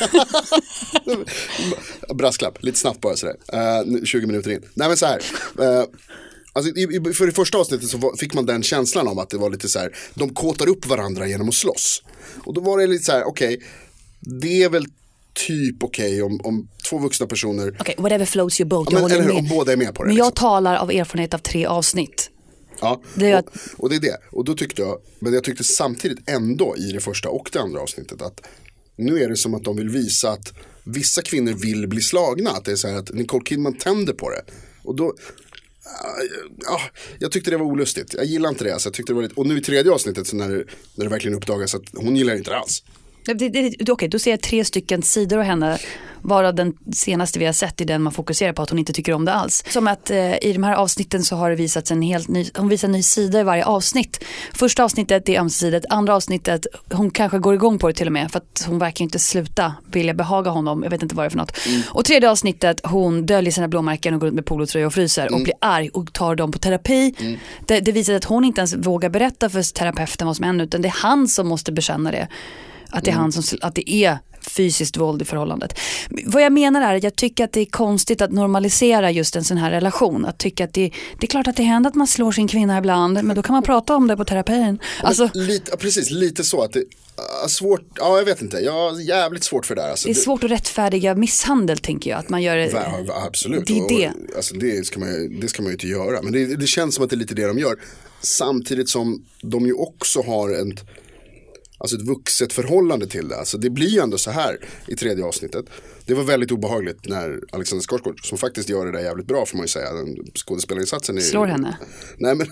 [SPEAKER 2] Brasklapp, lite snabbt bara sådär, Eh, nu- 20 minuter in. Nej men så här, eh, alltså, i, i, för det första avsnittet så var, fick man den känslan av att det var lite så här, de kåtar upp varandra genom att slåss. Och då var det lite så här, okej, det är väl typ okej om, om två vuxna personer,
[SPEAKER 3] Okej, whatever floats your boat.
[SPEAKER 2] men,
[SPEAKER 3] jag håller
[SPEAKER 2] eller hur, om
[SPEAKER 3] med.
[SPEAKER 2] båda är med på det.
[SPEAKER 3] Men
[SPEAKER 2] liksom.
[SPEAKER 3] jag talar av erfarenhet av tre avsnitt.
[SPEAKER 2] Ja,
[SPEAKER 3] Det är
[SPEAKER 2] och, och det är det. Och då tyckte jag, men jag tyckte samtidigt ändå i det första och det andra avsnittet att nu är det som att de vill visa att vissa kvinnor vill bli slagna. Att det är så här att Nicole Kidman tänder på det. Och då, ja, jag tyckte det var olustigt. Jag gillar inte det. Alltså, jag tyckte det var lite, och nu i tredje avsnittet så när, det- när det verkligen uppdagas att hon gillar inte det alls.
[SPEAKER 3] Det- det- det- Okej, då ser jag tre stycken sidor av henne. Varav den senaste vi har sett är den man fokuserar på att hon inte tycker om det alls. Som att eh, i de här avsnitten så har det visats en helt ny, hon visar en ny sida i varje avsnitt. Första avsnittet det är ömsesidigt, andra avsnittet hon kanske går igång på det till och med för att hon verkar inte sluta vilja behaga honom, jag vet inte vad det är för något. Och tredje avsnittet hon döljer sina blåmärken och går runt med polotröja och fryser och blir arg och tar dem på terapi. Det, det visar att hon inte ens vågar berätta för terapeuten vad som händer utan det är han som måste bekänna det. Att det
[SPEAKER 2] Mm.
[SPEAKER 3] är, han som, sl- att det är fysiskt våld i förhållandet. Vad jag menar är att jag tycker att det är konstigt att normalisera just en sån här relation. Att tycka att det, det är klart att det händer att man slår sin kvinna ibland men då kan man prata om det på terapin. Alltså,
[SPEAKER 2] Lite, ja, precis, lite så att det, ah, svårt, ja jag vet inte, jag har jävligt svårt för det där. Alltså,
[SPEAKER 3] det är
[SPEAKER 2] Det-
[SPEAKER 3] svårt att rättfärdiga misshandel tänker jag. Att man gör det.
[SPEAKER 2] Ja, ja, absolut.
[SPEAKER 3] Eh, Det är
[SPEAKER 2] Och-
[SPEAKER 3] det.
[SPEAKER 2] Och, alltså, det, ska man, ju- det ska man ju inte göra. Men det, det känns som att det är lite det de gör. Samtidigt som de ju också har ett, alltså ett vuxet förhållande till det. Alltså, det blir ju ändå så här i tredje avsnittet. Det var väldigt obehagligt när Alexander Skarsgård, som faktiskt gör det där jävligt bra får man ju säga, den skådespelarinsatsen är ju-
[SPEAKER 3] Slår henne?
[SPEAKER 2] Nej men,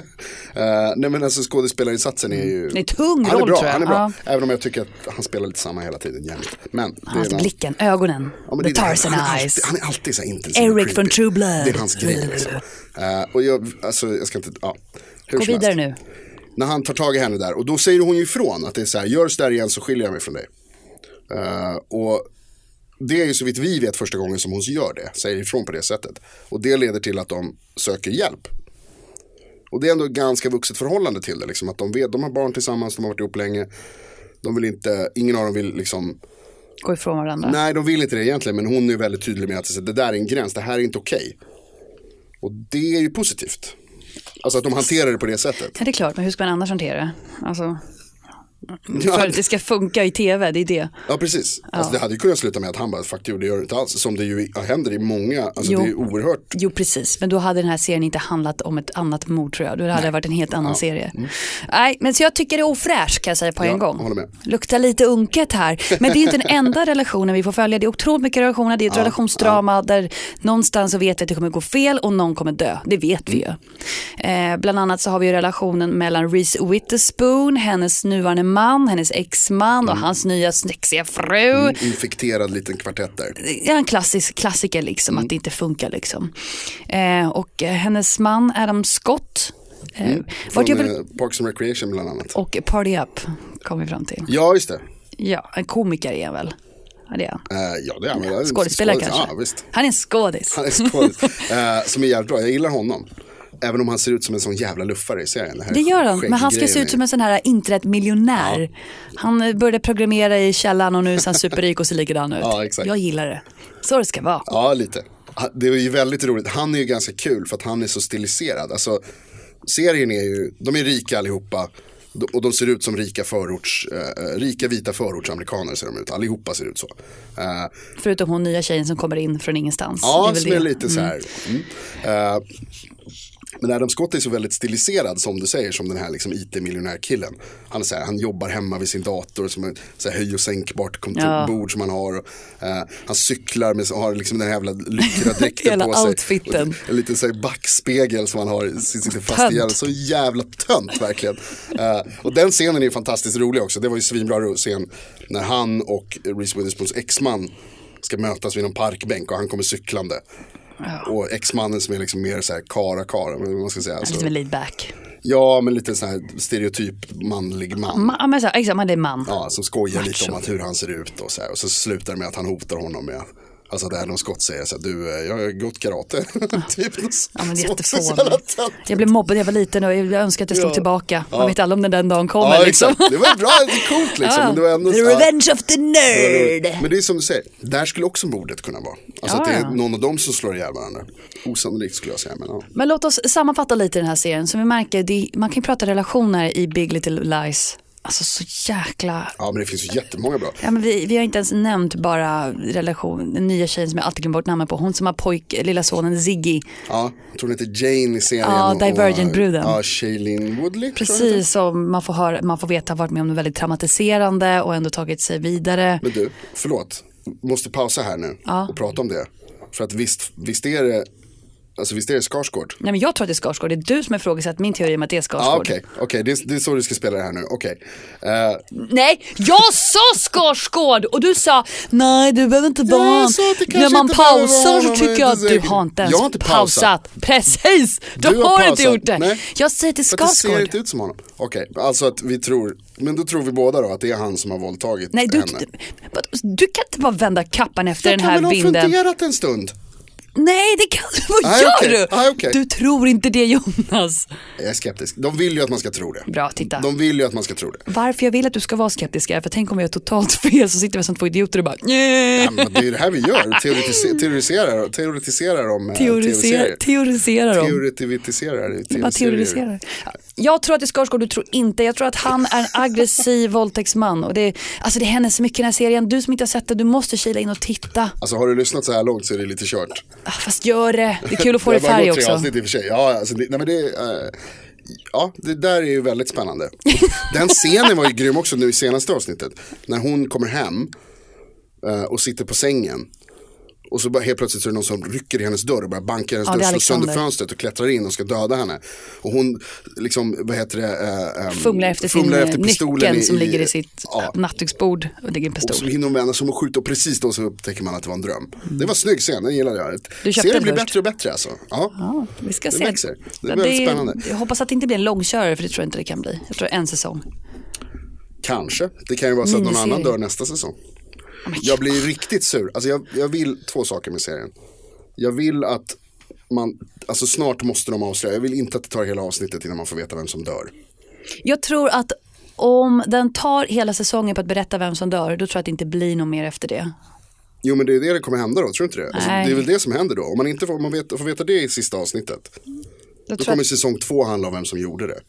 [SPEAKER 2] Eh, nej, men alltså skådespelarinsatsen är ju
[SPEAKER 3] Det är tung
[SPEAKER 2] han är
[SPEAKER 3] roll,
[SPEAKER 2] bra,
[SPEAKER 3] tror jag.
[SPEAKER 2] Han är bra,
[SPEAKER 3] Ja.
[SPEAKER 2] även om jag tycker att han spelar lite samma hela tiden jämt. Men det är en
[SPEAKER 3] Hans
[SPEAKER 2] annan-
[SPEAKER 3] alltså, blicken, ögonen,
[SPEAKER 2] Ja, men
[SPEAKER 3] the
[SPEAKER 2] det är det.
[SPEAKER 3] Tarzan
[SPEAKER 2] han, är
[SPEAKER 3] eyes.
[SPEAKER 2] alltid, han är alltid så här intensiv. och
[SPEAKER 3] Eric från
[SPEAKER 2] creepy.
[SPEAKER 3] True Blood.
[SPEAKER 2] Det är hans grej. Liksom. Eh, och jag, alltså, jag ska inte, ja. Hur
[SPEAKER 3] Gå
[SPEAKER 2] som
[SPEAKER 3] vidare nu.
[SPEAKER 2] helst. När han tar tag i henne där, och då säger hon ju ifrån att det är så här, gör så där igen så skiljer jag mig från dig. Eh, och det är ju så vitt vi vet första gången som hon gör det, säger ifrån på det sättet. Och det leder till att de söker hjälp. Och det är ändå ett ganska vuxet förhållande till det, liksom, att de, vet, de har barn tillsammans, de har varit ihop länge. De vill inte, ingen av dem vill liksom
[SPEAKER 3] Gå ifrån varandra.
[SPEAKER 2] Nej, de vill inte det egentligen, men hon är väldigt tydlig med att det där är en gräns, det här är inte okej. Och det är ju positivt. Alltså att de hanterar det på det sättet.
[SPEAKER 3] Ja, det är klart, men hur ska man annars hantera det? Alltså, för att Mm. det ska funka i tv, det är det.
[SPEAKER 2] Ja, precis. Alltså, det hade ju kunnat sluta med att han bara, fuck you, det gör det inte alls. Som det ju händer i många, alltså
[SPEAKER 3] Jo.
[SPEAKER 2] det är ju oerhört.
[SPEAKER 3] Jo precis, men då hade den här serien inte handlat om ett annat mord tror jag. Då hade det varit en helt annan serie. Nej, men så jag tycker det är ofräscht kan jag säga på en
[SPEAKER 2] Mm. Ja,
[SPEAKER 3] gång.
[SPEAKER 2] håller med.
[SPEAKER 3] Luktar lite unket här. Men det är inte den enda relationen vi får följa. Det är otroligt mycket relationer, det är ett relationsdrama där någonstans så vet vi att det kommer gå fel och någon kommer dö. Det vet vi ju.
[SPEAKER 2] Mm.
[SPEAKER 3] Eh, bland annat så har vi ju relationen mellan Reese Witherspoon, hennes nuvarande man, hennes exman
[SPEAKER 2] Mm.
[SPEAKER 3] och hans nya sexiga fru
[SPEAKER 2] Infekterad liten kvartett där.
[SPEAKER 3] det är en klassisk klassiker liksom,
[SPEAKER 2] Mm.
[SPEAKER 3] att det inte funkar liksom. Eh, och eh, hennes man Adam Scott, eh, vart jag
[SPEAKER 2] Från
[SPEAKER 3] vill,
[SPEAKER 2] eh, Parks and Recreation bland annat.
[SPEAKER 3] och Party Up kom vi fram till.
[SPEAKER 2] Ja, just det.
[SPEAKER 3] Ja, en komiker är han väl? Ja, det är han.
[SPEAKER 2] Eh, ja, det är han väl.
[SPEAKER 3] Skådespelare
[SPEAKER 2] Skådis-
[SPEAKER 3] kanske?
[SPEAKER 2] Ja, visst.
[SPEAKER 3] Han är en skådis.
[SPEAKER 2] Han är skådis. Eh, som är jävligt bra, jag gillar honom. Även om han ser ut som en sån jävla luffare i serien. här
[SPEAKER 3] Det gör han, men han ska se
[SPEAKER 2] skägggrejen
[SPEAKER 3] ut
[SPEAKER 2] är-
[SPEAKER 3] som en sån här internetmiljonär. Han eh, började programmera i källaren och nu är han superrik och ser likadan ut.
[SPEAKER 2] Ja, exakt.
[SPEAKER 3] Jag gillar det. Så det ska vara.
[SPEAKER 2] Ja, lite. Ha- Det är ju väldigt roligt. Han är ju ganska kul för att han är så stiliserad. Alltså, serien är ju, de är rika allihopa. D- Och de ser ut som rika förorts, eh, eh, rika vita förortsamerikaner ser de ut. Allihopa ser ut så. Eh,
[SPEAKER 3] Förutom hon nya tjejen som kommer in från ingenstans.
[SPEAKER 2] ja,
[SPEAKER 3] väl
[SPEAKER 2] som är lite så här. Mm. Eh, men Adam Scott är så väldigt stiliserad som du säger, som den här liksom IT-miljonärkillen. Han, är så här, han jobbar hemma vid sin dator, som är så här höj och sänkbart
[SPEAKER 3] Ja.
[SPEAKER 2] kontorbord som han har. Och, eh, han cyklar med, har liksom den här jävla lyckradräkten
[SPEAKER 3] Hela
[SPEAKER 2] på sig.
[SPEAKER 3] outfiten.
[SPEAKER 2] Och En liten så här backspegel som han har, som sitter fast
[SPEAKER 3] Tönt.
[SPEAKER 2] i hjärnan. Så jävla tönt verkligen. Eh, och den scenen är ju fantastiskt rolig också. Det var ju svinbra ro- scen när han och Reese Witherspoons exman ska mötas vid någon parkbänk och han kommer cyklande. Och exmannen som är liksom mer så här kara kara, men vad man ska säga.
[SPEAKER 3] Lite
[SPEAKER 2] Alltså,
[SPEAKER 3] med laid back.
[SPEAKER 2] Ja, men lite så här stereotyp manlig man.
[SPEAKER 3] Ma- men så här, exakt, man det är man.
[SPEAKER 2] Ja, som skojar lite
[SPEAKER 3] Macho.
[SPEAKER 2] om att hur han ser ut och så här. Och så slutar det med att han hotar honom med Alltså det här någon skott säger så här, du, eh, jag har gått karate. typ.
[SPEAKER 3] Ja, men det
[SPEAKER 2] Så-
[SPEAKER 3] är
[SPEAKER 2] så
[SPEAKER 3] jättefånigt.
[SPEAKER 2] jävla
[SPEAKER 3] Jag blev mobbad när jag var liten och jag önskar att jag slog
[SPEAKER 2] Ja.
[SPEAKER 3] tillbaka. Man
[SPEAKER 2] Ja.
[SPEAKER 3] vet aldrig om den den dagen kommer
[SPEAKER 2] Ja,
[SPEAKER 3] liksom.
[SPEAKER 2] exakt. Det var bra, det är coolt liksom. Men det var ändå
[SPEAKER 3] The
[SPEAKER 2] så här-
[SPEAKER 3] revenge of the nerd.
[SPEAKER 2] Men det är som du säger, där skulle också mordet kunna vara. Alltså
[SPEAKER 3] Ja,
[SPEAKER 2] att det
[SPEAKER 3] ja.
[SPEAKER 2] är någon av dem som slår ihjäl varandra. Osannolikt skulle jag säga, men ja.
[SPEAKER 3] Men låt oss sammanfatta lite den här serien. Som vi märker, det är, man kan ju prata relationer i Big Little Lies. Alltså så jäkla...
[SPEAKER 2] Ja, men det finns ju jättemånga bra.
[SPEAKER 3] Ja, men vi, vi har inte ens nämnt bara relation, den nya tjejen som jag alltid glömmer bort namnet på. Hon som har pojk, lilla sonen Ziggy.
[SPEAKER 2] Ja, jag tror hon heter Jane i serien.
[SPEAKER 3] Ja,
[SPEAKER 2] och-
[SPEAKER 3] Divergent-bruden.
[SPEAKER 2] Ja, Shailene Woodley. tror jag hon heter.
[SPEAKER 3] Precis som man får, höra, man får veta har varit med om något väldigt traumatiserande och ändå tagit sig vidare.
[SPEAKER 2] Men du, förlåt. Måste pausa här nu
[SPEAKER 3] Ja.
[SPEAKER 2] och prata om det. För att visst, visst är det, alltså visst är det Skarsgård?
[SPEAKER 3] Nej men jag tror att det är Skarsgård, det är du som har ifrågasatt min teori om att det är Skarsgård.
[SPEAKER 2] Ja, Ah, okej, okej, det, är- det är så du ska spela det här nu, okej. Eh,
[SPEAKER 3] Nej, jag sa Skarsgård och du sa nej du behöver inte vara
[SPEAKER 2] jag
[SPEAKER 3] han.
[SPEAKER 2] sa att det kanske
[SPEAKER 3] När man
[SPEAKER 2] inte behöver vara
[SPEAKER 3] pausar så
[SPEAKER 2] honom,
[SPEAKER 3] tycker
[SPEAKER 2] jag
[SPEAKER 3] jag
[SPEAKER 2] är
[SPEAKER 3] att
[SPEAKER 2] inte
[SPEAKER 3] du
[SPEAKER 2] säker.
[SPEAKER 3] har inte ens
[SPEAKER 2] Jag har inte pausat.
[SPEAKER 3] Precis, du,
[SPEAKER 2] Du har
[SPEAKER 3] har, inte
[SPEAKER 2] pausat.
[SPEAKER 3] gjort det.
[SPEAKER 2] Nej.
[SPEAKER 3] Jag säger till
[SPEAKER 2] för att det ser
[SPEAKER 3] Skarsgård.
[SPEAKER 2] inte ut som honom. Okej, alltså att vi tror, men då tror vi båda då att det är han som har våldtagit
[SPEAKER 3] Nej du,
[SPEAKER 2] henne.
[SPEAKER 3] du kan inte bara vända kappan efter
[SPEAKER 2] jag
[SPEAKER 3] den
[SPEAKER 2] kan
[SPEAKER 3] här
[SPEAKER 2] väl ha
[SPEAKER 3] vinden.
[SPEAKER 2] funderat en stund.
[SPEAKER 3] Nej det kan du, vad
[SPEAKER 2] Nej,
[SPEAKER 3] gör
[SPEAKER 2] okej.
[SPEAKER 3] du?
[SPEAKER 2] Nej, okej.
[SPEAKER 3] Du tror inte det Jonas.
[SPEAKER 2] Jag är skeptisk. De vill ju att man ska tro det.
[SPEAKER 3] Bra, titta.
[SPEAKER 2] De vill ju att man ska tro det.
[SPEAKER 3] Varför jag vill att du ska vara skeptisk är för tänk om jag är totalt fel så sitter vi som två idioter och bara nej.
[SPEAKER 2] Ja, men Det är ju det här vi gör, teoretiserar, teoretiserar, teoretiserar om eh,
[SPEAKER 3] Teorisera,
[SPEAKER 2] tv-serier.
[SPEAKER 3] teorisera om.
[SPEAKER 2] Teoretiviserar i
[SPEAKER 3] Bara
[SPEAKER 2] tv-serier.
[SPEAKER 3] teoretiserar. Jag tror att det är Skarsgård, du tror inte. Jag tror att han är en aggressiv våldtäktsman. Och det, alltså det händer så mycket i den här serien. Du som inte har sett det, du måste kila in och titta.
[SPEAKER 2] Alltså har du lyssnat så här långt så är det lite kört.
[SPEAKER 3] Ah, Fast gör det. Det är kul att få det i
[SPEAKER 2] har bara
[SPEAKER 3] färg
[SPEAKER 2] gått tre
[SPEAKER 3] också.
[SPEAKER 2] Avsnitt i och för sig. Ja, alltså, det, nej, men det, eh, ja, det där är ju väldigt spännande. Den scenen var ju grym också nu i senaste avsnittet. När hon kommer hem eh, och sitter på sängen. Och så bara helt plötsligt så är det någon som rycker i hennes dörr och börjar banka i hennes
[SPEAKER 3] Ja, det
[SPEAKER 2] dörr,
[SPEAKER 3] är
[SPEAKER 2] slår sönder
[SPEAKER 3] Alexander.
[SPEAKER 2] fönstret och klättrar in och ska döda henne. Och hon liksom, vad heter det? eh, ehm,
[SPEAKER 3] Fumlar efter sin
[SPEAKER 2] fumlar
[SPEAKER 3] eh,
[SPEAKER 2] pistolen
[SPEAKER 3] nyckeln som
[SPEAKER 2] i-
[SPEAKER 3] ligger i sitt
[SPEAKER 2] ja,
[SPEAKER 3] nattduksbord. Och det ligger en
[SPEAKER 2] och så
[SPEAKER 3] pistol.
[SPEAKER 2] hinner hon vända sig om och skjuta och precis då så upptäcker man att det var en dröm. Det var en snygg scen, den gillade jag.
[SPEAKER 3] Mm. Du köpte
[SPEAKER 2] Serien
[SPEAKER 3] den
[SPEAKER 2] blir
[SPEAKER 3] först?
[SPEAKER 2] bättre och bättre alltså. Ja.
[SPEAKER 3] Ja, vi ska
[SPEAKER 2] Det
[SPEAKER 3] se.
[SPEAKER 2] växer. Det är
[SPEAKER 3] Ja,
[SPEAKER 2] väldigt spännande.
[SPEAKER 3] Jag hoppas att det inte blir en långkörare för det tror jag inte det kan bli. Jag tror en säsong.
[SPEAKER 2] Kanske, det kan ju vara så att någon
[SPEAKER 3] Miniserie.
[SPEAKER 2] annan dör nästa säsong. Jag blir riktigt sur. Alltså jag, jag vill två saker med serien. Jag vill att man, alltså snart måste de avslöja. Jag vill inte att det tar hela avsnittet innan man får veta vem som dör.
[SPEAKER 3] Jag tror att om den tar hela säsongen på att berätta vem som dör, då tror jag att det inte blir något mer efter det.
[SPEAKER 2] Jo men det är det det kommer hända då, tror du inte det? Alltså,
[SPEAKER 3] Nej.
[SPEAKER 2] det är väl det som händer då. Om man inte får, om man vet, får veta det i sista avsnittet.
[SPEAKER 3] Jag
[SPEAKER 2] Då
[SPEAKER 3] tror att-
[SPEAKER 2] kommer säsong två handla om vem som gjorde det.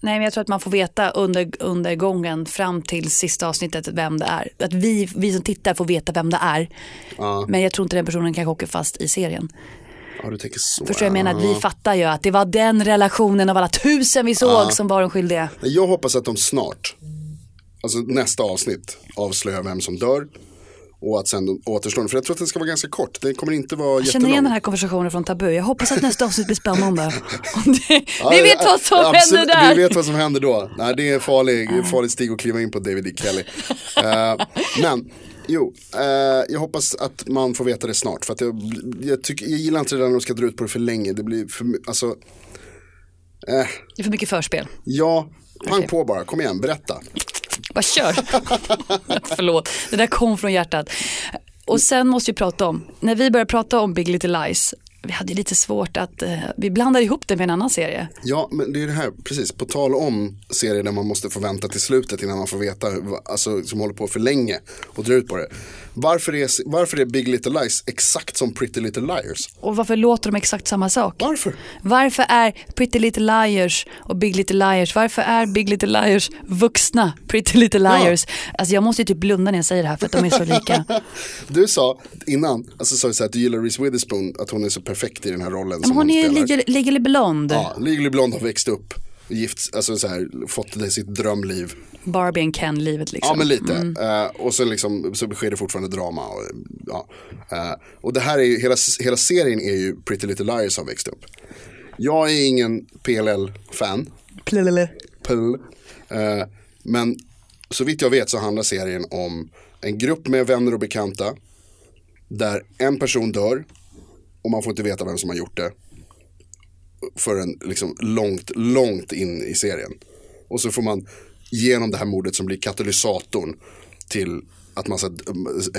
[SPEAKER 3] Nej, men jag tror att man får veta under, under gången fram till sista avsnittet vem det är. Att vi, vi som tittar får veta vem det är. Men jag tror inte den personen kanske åker fast i serien.
[SPEAKER 2] Ja du tänker så.
[SPEAKER 3] Förstår du vad jag menar? Att vi fattar ju att det var den relationen av alla tusen vi såg som var de skyldiga.
[SPEAKER 2] Nej, Jag hoppas att de snart, alltså nästa avsnitt, avslöjar vem som dör. Och att sen de återstående, för jag tror att den ska vara ganska kort. Den kommer inte vara
[SPEAKER 3] Jag känner igen
[SPEAKER 2] jättelång.
[SPEAKER 3] den här konversationen från Tabu. Jag hoppas att nästa avsnitt blir spännande. Det- vi
[SPEAKER 2] Ja,
[SPEAKER 3] vet vad som
[SPEAKER 2] absolut.
[SPEAKER 3] händer där. Ah.
[SPEAKER 2] Vi vet vad som händer då. Nej, det är en farlig, en farlig stig att kliva in på David E. Kelly. Eh, men, jo, eh, jag hoppas att man får veta det snart. För att jag, jag, tycker, jag gillar inte det där när de ska dra ut på det för länge. Det blir för, my- alltså, eh,
[SPEAKER 3] Det är för mycket förspel.
[SPEAKER 2] ja, pang
[SPEAKER 3] Okej.
[SPEAKER 2] på bara, kom igen, berätta.
[SPEAKER 3] Bara kör. Förlåt, det där kom från hjärtat. Och sen måste vi prata om, när vi började prata om Big Little Lies, vi hade ju lite svårt att, eh, vi blandade ihop det med en annan serie.
[SPEAKER 2] Ja, men det är det här, precis, på tal om serier där man måste få vänta till slutet innan man får veta, hur- alltså som håller på för länge och drar ut på det. Varför är, varför är Big Little Lies exakt som Pretty Little Liars?
[SPEAKER 3] Och varför låter de exakt samma sak?
[SPEAKER 2] Varför?
[SPEAKER 3] Varför är Pretty Little Liars och Big Little Liars, varför är Big Little Liars vuxna Pretty Little Liars? Alltså jag måste ju typ blunda när jag säger det här för att de är så lika.
[SPEAKER 2] Du sa innan, alltså sa du så här, att du gillar Reese Witherspoon, att hon är så perfekt i den här rollen
[SPEAKER 3] Men
[SPEAKER 2] som
[SPEAKER 3] hon är ju
[SPEAKER 2] spelar.
[SPEAKER 3] legally- legally blond,
[SPEAKER 2] Ja, Legally Blonde har växt upp, gift, alltså så här, fått det sitt drömliv.
[SPEAKER 3] Barbie and Ken-livet liksom.
[SPEAKER 2] Ja men lite. Eh, och så, liksom, så sker det fortfarande drama. Och, ja. Eh, och det här är ju, hela, hela serien är ju Pretty Little Liars har växt upp. Jag är ingen PLL-fan. PLL. Eh, men så vitt jag vet så handlar serien om en grupp med vänner och bekanta. Där en person dör och man får inte veta vem som har gjort det. förrän liksom långt, långt in i serien. Och så får man genom det här mordet som blir katalysatorn till att massa d-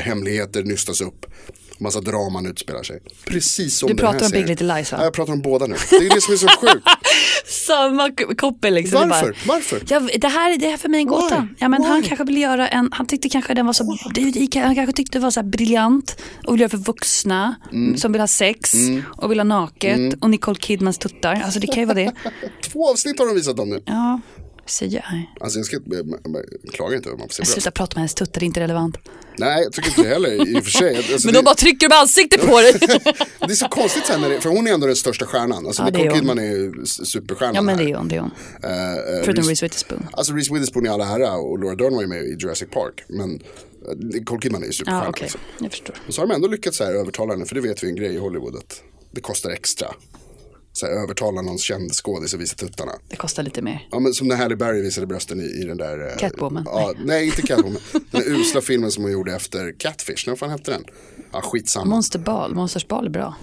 [SPEAKER 2] hemligheter nystas upp. Massa draman utspelar sig. Precis som
[SPEAKER 3] Du
[SPEAKER 2] den här
[SPEAKER 3] pratar om Big
[SPEAKER 2] serien.
[SPEAKER 3] Little Lies, va?
[SPEAKER 2] Ja, jag pratar om båda nu. Det är det som är så sjukt.
[SPEAKER 3] Samma k- koppel liksom. Det är
[SPEAKER 2] Varför?
[SPEAKER 3] bara-
[SPEAKER 2] Varför?
[SPEAKER 3] Ja, det, här, det här är för mig en gåta.
[SPEAKER 2] Why?
[SPEAKER 3] Ja, men han
[SPEAKER 2] Why?
[SPEAKER 3] kanske vill göra en, han tyckte kanske den var så, det- han kanske tyckte det var så här briljant och vill göra för vuxna
[SPEAKER 2] Mm.
[SPEAKER 3] som vill ha sex och vill ha naket och Nicole Kidmans tuttar. Alltså det kan ju vara det.
[SPEAKER 2] Två avsnitt har de visat om nu.
[SPEAKER 3] Ja, säger jag.
[SPEAKER 2] Alltså jag ska klaga inte över man får se bröst.
[SPEAKER 3] Sluta prata med hennes tuttar, det är inte relevant.
[SPEAKER 2] Nej, jag tycker inte det heller i och för sig. Alltså,
[SPEAKER 3] Men
[SPEAKER 2] det,
[SPEAKER 3] de bara trycker med ansiktet på dig.
[SPEAKER 2] det är så konstigt sen när det, för hon är ändå den största stjärnan. Alltså
[SPEAKER 3] Ja, det är
[SPEAKER 2] Nicole
[SPEAKER 3] hon.
[SPEAKER 2] Kidman är ju s- superstjärnan
[SPEAKER 3] ja men det
[SPEAKER 2] här.
[SPEAKER 3] är hon, det är hon.
[SPEAKER 2] Eh, eh,
[SPEAKER 3] Förutom
[SPEAKER 2] Reese-
[SPEAKER 3] Reese Witherspoon.
[SPEAKER 2] Alltså Reese Witherspoon i all ära och Laura Dern var ju med i Jurassic Park. Men eh, Nicole Kidman är ju
[SPEAKER 3] Ja
[SPEAKER 2] superstjärna.
[SPEAKER 3] okej,
[SPEAKER 2] liksom.
[SPEAKER 3] jag förstår.
[SPEAKER 2] Men så har de ändå lyckats så här övertala henne, för det vet vi är en grej i Hollywood att det kostar extra. Så här, övertala någon känd skådis att visa tuttarna.
[SPEAKER 3] Det kostar lite mer.
[SPEAKER 2] Ja men som när Halle Berry visade brösten i, i den där eh,
[SPEAKER 3] Catwoman.
[SPEAKER 2] Ja, nej inte Catwoman. den där usla filmen som hon gjorde efter Catfish, när fan hette den? Ja skitsamma.
[SPEAKER 3] Monsterbal, Monstersbal är bra.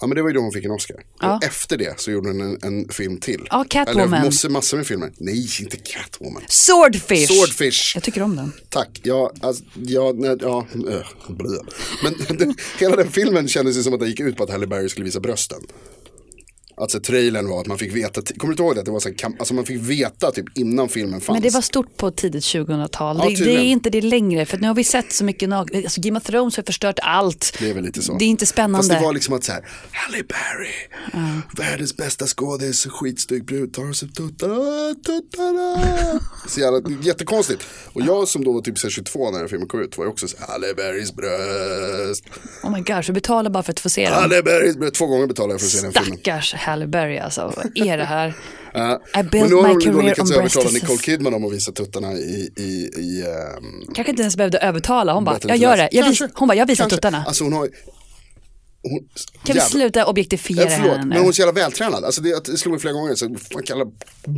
[SPEAKER 2] Ja men det var ju då hon fick en Oscar.
[SPEAKER 3] Ja.
[SPEAKER 2] Och efter det så gjorde hon en, en film till.
[SPEAKER 3] Ja, Catwoman.
[SPEAKER 2] Eller massor, massor med filmer. Nej inte Catwoman.
[SPEAKER 3] Swordfish!
[SPEAKER 2] Swordfish.
[SPEAKER 3] Jag tycker om den.
[SPEAKER 2] Tack, ja, alltså, ja, nej, ja, öh, blö. Men det, hela den filmen kändes ju som att det gick ut på att Halle Berry skulle visa brösten. Alltså trailern var att man fick veta, kommer du inte ihåg det? Att det var så här, kam- alltså man fick veta typ innan filmen fanns.
[SPEAKER 3] Men det var stort på tidigt 2000-tal.
[SPEAKER 2] Ja,
[SPEAKER 3] det, det
[SPEAKER 2] tydligen.
[SPEAKER 3] är inte det längre, för nu har vi sett så mycket nag- alltså Game of Thrones har förstört allt.
[SPEAKER 2] Det är väl lite så.
[SPEAKER 3] Det är inte
[SPEAKER 2] Fast det
[SPEAKER 3] spännande.
[SPEAKER 2] var liksom att så här, Halle Berry, världens bästa skådis, skitsnygg brud, tar oss upp tuttarna, tuttarna. så jävla, jättekonstigt. Och jag som då var typ så här 22 när den filmen kom ut var ju också så här, Halle Berrys bröst,
[SPEAKER 3] Oh my gosh, vi betalar bara för att få se den.
[SPEAKER 2] Halle Berrys bröst. Två gånger betalade jag för att se den filmen.
[SPEAKER 3] Stackars Halle Berry alltså, vad är det här?
[SPEAKER 2] Ja.
[SPEAKER 3] I built
[SPEAKER 2] men nu har
[SPEAKER 3] my
[SPEAKER 2] de då
[SPEAKER 3] career
[SPEAKER 2] lyckats
[SPEAKER 3] on
[SPEAKER 2] övertala
[SPEAKER 3] breasts.
[SPEAKER 2] Nicole Kidman om att visa tuttarna i, i, i ehm,
[SPEAKER 3] Kanske inte ens behövde övertala, hon bara,
[SPEAKER 2] Battle
[SPEAKER 3] jag
[SPEAKER 2] of
[SPEAKER 3] gör
[SPEAKER 2] the
[SPEAKER 3] det.
[SPEAKER 2] Last.
[SPEAKER 3] Jag vis-
[SPEAKER 2] Kanske,
[SPEAKER 3] hon bara, jag visar
[SPEAKER 2] kanske.
[SPEAKER 3] tuttarna.
[SPEAKER 2] Alltså hon har hon,
[SPEAKER 3] Kan vi
[SPEAKER 2] jävlar.
[SPEAKER 3] sluta objektifiera
[SPEAKER 2] Eh, Förlåt,
[SPEAKER 3] henne?
[SPEAKER 2] men hon är så jävla vältränad. Alltså det, det slog mig flera gånger, så fan kalla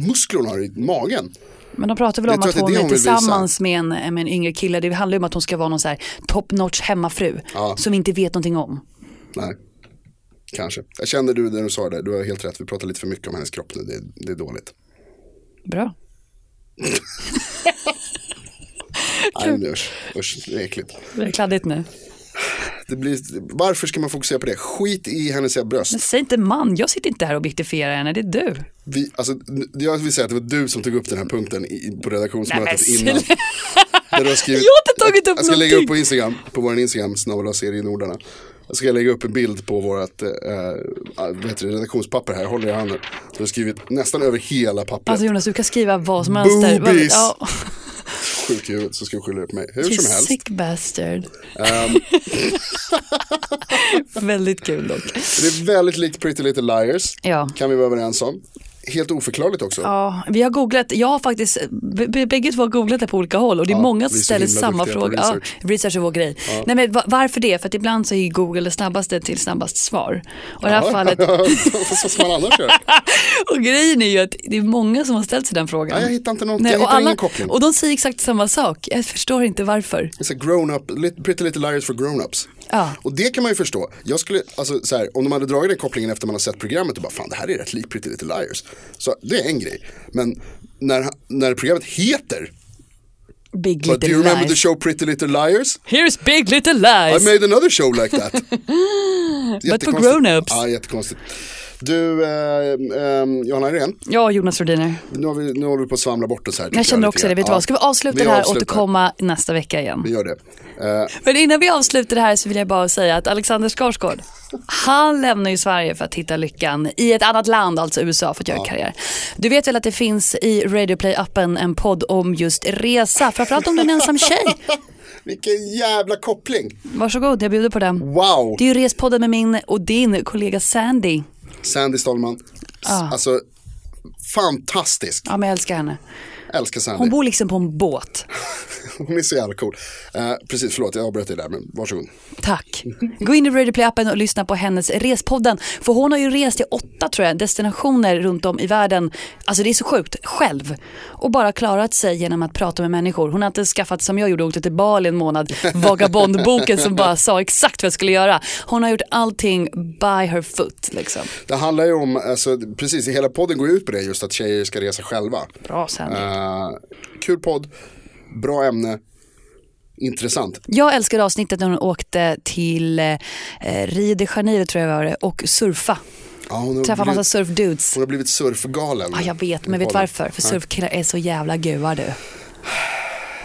[SPEAKER 2] muskler hon har i magen.
[SPEAKER 3] Men de pratar väl
[SPEAKER 2] Jag
[SPEAKER 3] om
[SPEAKER 2] tror att
[SPEAKER 3] att,
[SPEAKER 2] det är
[SPEAKER 3] hon
[SPEAKER 2] det
[SPEAKER 3] är
[SPEAKER 2] hon vill
[SPEAKER 3] tillsammans med en, med en yngre kille. Det handlar ju om att hon ska vara någon så här top notch hemmafru
[SPEAKER 2] Ja.
[SPEAKER 3] som inte vet någonting om.
[SPEAKER 2] Nej, kanske. Jag kände du när du sa det, du har helt rätt. Vi pratar lite för mycket om hennes kropp nu, det, det är dåligt.
[SPEAKER 3] Bra.
[SPEAKER 2] Nej, men usch, usch, det är äckligt.
[SPEAKER 3] Det är kladdigt nu.
[SPEAKER 2] Det blir, varför ska man fokusera på det? Skit i hennes jävla bröst.
[SPEAKER 3] Men säg inte man, jag sitter inte här och objektifierar henne, det är du.
[SPEAKER 2] Vi, alltså, n- jag vill säga att det var du som tog upp den här punkten i- i, på redaktionsmötet
[SPEAKER 3] Nej, men
[SPEAKER 2] innan. Där du har skrivit,
[SPEAKER 3] Jag har inte tagit upp
[SPEAKER 2] Jag ska lägga upp
[SPEAKER 3] någonting.
[SPEAKER 2] på Instagram, på vår Instagram, snabel serienordarna. Jag ska lägga upp en bild på vårt eh, vad heter det, redaktionspapper här, jag håller i handen. Du har skrivit nästan över hela pappret.
[SPEAKER 3] Alltså Jonas, du kan skriva vad som helst. där. Vad-
[SPEAKER 2] Boobies.
[SPEAKER 3] Ja,
[SPEAKER 2] Sjuk i huvudet så ska du skylla det på mig. Hur
[SPEAKER 3] you
[SPEAKER 2] som helst. Ehm.
[SPEAKER 3] sick bastard. Väldigt kul dock.
[SPEAKER 2] Det är väldigt likt Pretty Little Liars.
[SPEAKER 3] Ja.
[SPEAKER 2] Kan vi vara överens om. Helt oförklarligt också.
[SPEAKER 3] Ja, vi har googlat, jag har faktiskt, b- b- bägge två har googlat det på olika håll och det är
[SPEAKER 2] Ja,
[SPEAKER 3] många som
[SPEAKER 2] vi är så
[SPEAKER 3] ställer
[SPEAKER 2] himla
[SPEAKER 3] samma
[SPEAKER 2] duktiga på
[SPEAKER 3] fråga. Ja,
[SPEAKER 2] research.
[SPEAKER 3] research är vår grej. Nej, men va- varför det? För att ibland så är Google det snabbaste till snabbast svar. Och i det här fallet,
[SPEAKER 2] så som man annars gör.
[SPEAKER 3] och grejen är ju att det är många som har ställt sig den frågan.
[SPEAKER 2] Nej, jag hittar inte något,
[SPEAKER 3] Nej,
[SPEAKER 2] jag
[SPEAKER 3] och,
[SPEAKER 2] hittar
[SPEAKER 3] alla,
[SPEAKER 2] ingen koppling.
[SPEAKER 3] och de säger exakt samma sak, jag förstår inte varför.
[SPEAKER 2] It's a grown up, lit- Pretty Little Liars for grown-ups.
[SPEAKER 3] Ja.
[SPEAKER 2] Och det kan man ju förstå. Jag skulle, alltså, så här, om de hade dragit den kopplingen efter man har sett programmet och bara fan det här är rätt likt Pretty Little Liars. Så det är en grej. Men när, när programmet heter
[SPEAKER 3] Big
[SPEAKER 2] But Do you
[SPEAKER 3] little
[SPEAKER 2] remember the
[SPEAKER 3] lies.
[SPEAKER 2] show Pretty Little Liars?
[SPEAKER 3] Here's big little lies.
[SPEAKER 2] I made another show like that. Jättekonstigt.
[SPEAKER 3] grown-ups.
[SPEAKER 2] Ja, jättekonstigt. Du, eh, ehm, Johanna Irene,
[SPEAKER 3] Ja, Jonas Rhodiner.
[SPEAKER 2] nu, har vi, nu håller vi på att svamla bort oss här. tycker
[SPEAKER 3] Jag känner
[SPEAKER 2] lite
[SPEAKER 3] också det.
[SPEAKER 2] grann.
[SPEAKER 3] Vet du
[SPEAKER 2] Ja.
[SPEAKER 3] vad? Ska vi avsluta
[SPEAKER 2] Vi
[SPEAKER 3] det här och
[SPEAKER 2] avslutar.
[SPEAKER 3] återkomma nästa vecka igen?
[SPEAKER 2] Vi gör det. Eh,
[SPEAKER 3] Men innan vi avslutar det här så vill jag bara säga att Alexander Skarsgård, han lämnar ju Sverige för att hitta lyckan i ett annat land, alltså USA, för att göra karriär. Du vet väl att det finns i Radio Play appen en podd om just resa, framförallt om du är en ensam tjej.
[SPEAKER 2] vilken jävla koppling.
[SPEAKER 3] Varsågod, jag bjuder på den.
[SPEAKER 2] Wow.
[SPEAKER 3] Det är ju Respodden med min och din kollega Sandy.
[SPEAKER 2] Sandy Stallman.
[SPEAKER 3] Ah.
[SPEAKER 2] Alltså, fantastisk.
[SPEAKER 3] Ja, men jag älskar henne.
[SPEAKER 2] Älskar Sandy.
[SPEAKER 3] Hon bor liksom på en båt.
[SPEAKER 2] Hon är så jävla cool. Eh, precis, förlåt jag avbröt dig där men varsågod.
[SPEAKER 3] Tack. Gå in i Radioplay-appen och lyssna på hennes Respodden. För hon har ju rest till åtta tror jag, destinationer runt om i världen. Alltså det är så sjukt, själv. Och bara klarat sig genom att prata med människor. Hon har inte skaffat som jag gjorde, åkte till Bali en månad, vagabondboken som bara sa exakt vad jag skulle göra. Hon har gjort allting by her foot liksom.
[SPEAKER 2] Det handlar ju om, alltså, precis hela podden går ju ut på det just att tjejer ska resa själva.
[SPEAKER 3] Bra Sandy.
[SPEAKER 2] Eh, kul podd, bra ämne, intressant.
[SPEAKER 3] Jag älskade avsnittet när hon åkte till eh, Rio de Janeiro tror jag var det och surfa.
[SPEAKER 2] Ja, hon, har
[SPEAKER 3] Träffa massa
[SPEAKER 2] blivit,
[SPEAKER 3] surfdudes.
[SPEAKER 2] hon har blivit surfgalen.
[SPEAKER 3] Ja, jag vet, men vet varför? För surfkillar är så jävla gua du.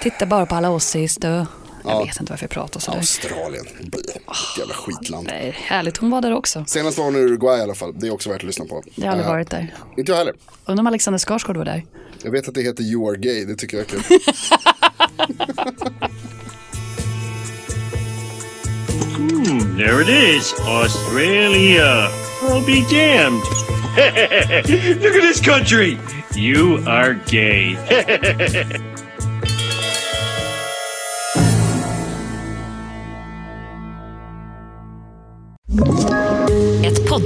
[SPEAKER 3] Titta bara på alla Aussies du. Jag vet inte varför jag pratar sådär.
[SPEAKER 2] Australien, Bö, vilket jävla skitland.
[SPEAKER 3] Ah. Nej, härligt, hon var där också.
[SPEAKER 2] Senast var hon i Uruguay i alla fall, det är också värt att lyssna på.
[SPEAKER 3] Jag har aldrig
[SPEAKER 2] Eh,
[SPEAKER 3] varit där.
[SPEAKER 2] Inte jag heller.
[SPEAKER 3] Undrar om Alexander Skarsgård var där.
[SPEAKER 2] Jag vet att det heter You Are Gay, det tycker jag är kul.
[SPEAKER 4] Hmm, There it is, Australia. I'll be damned. Look at this country. You are gay.
[SPEAKER 5] Ett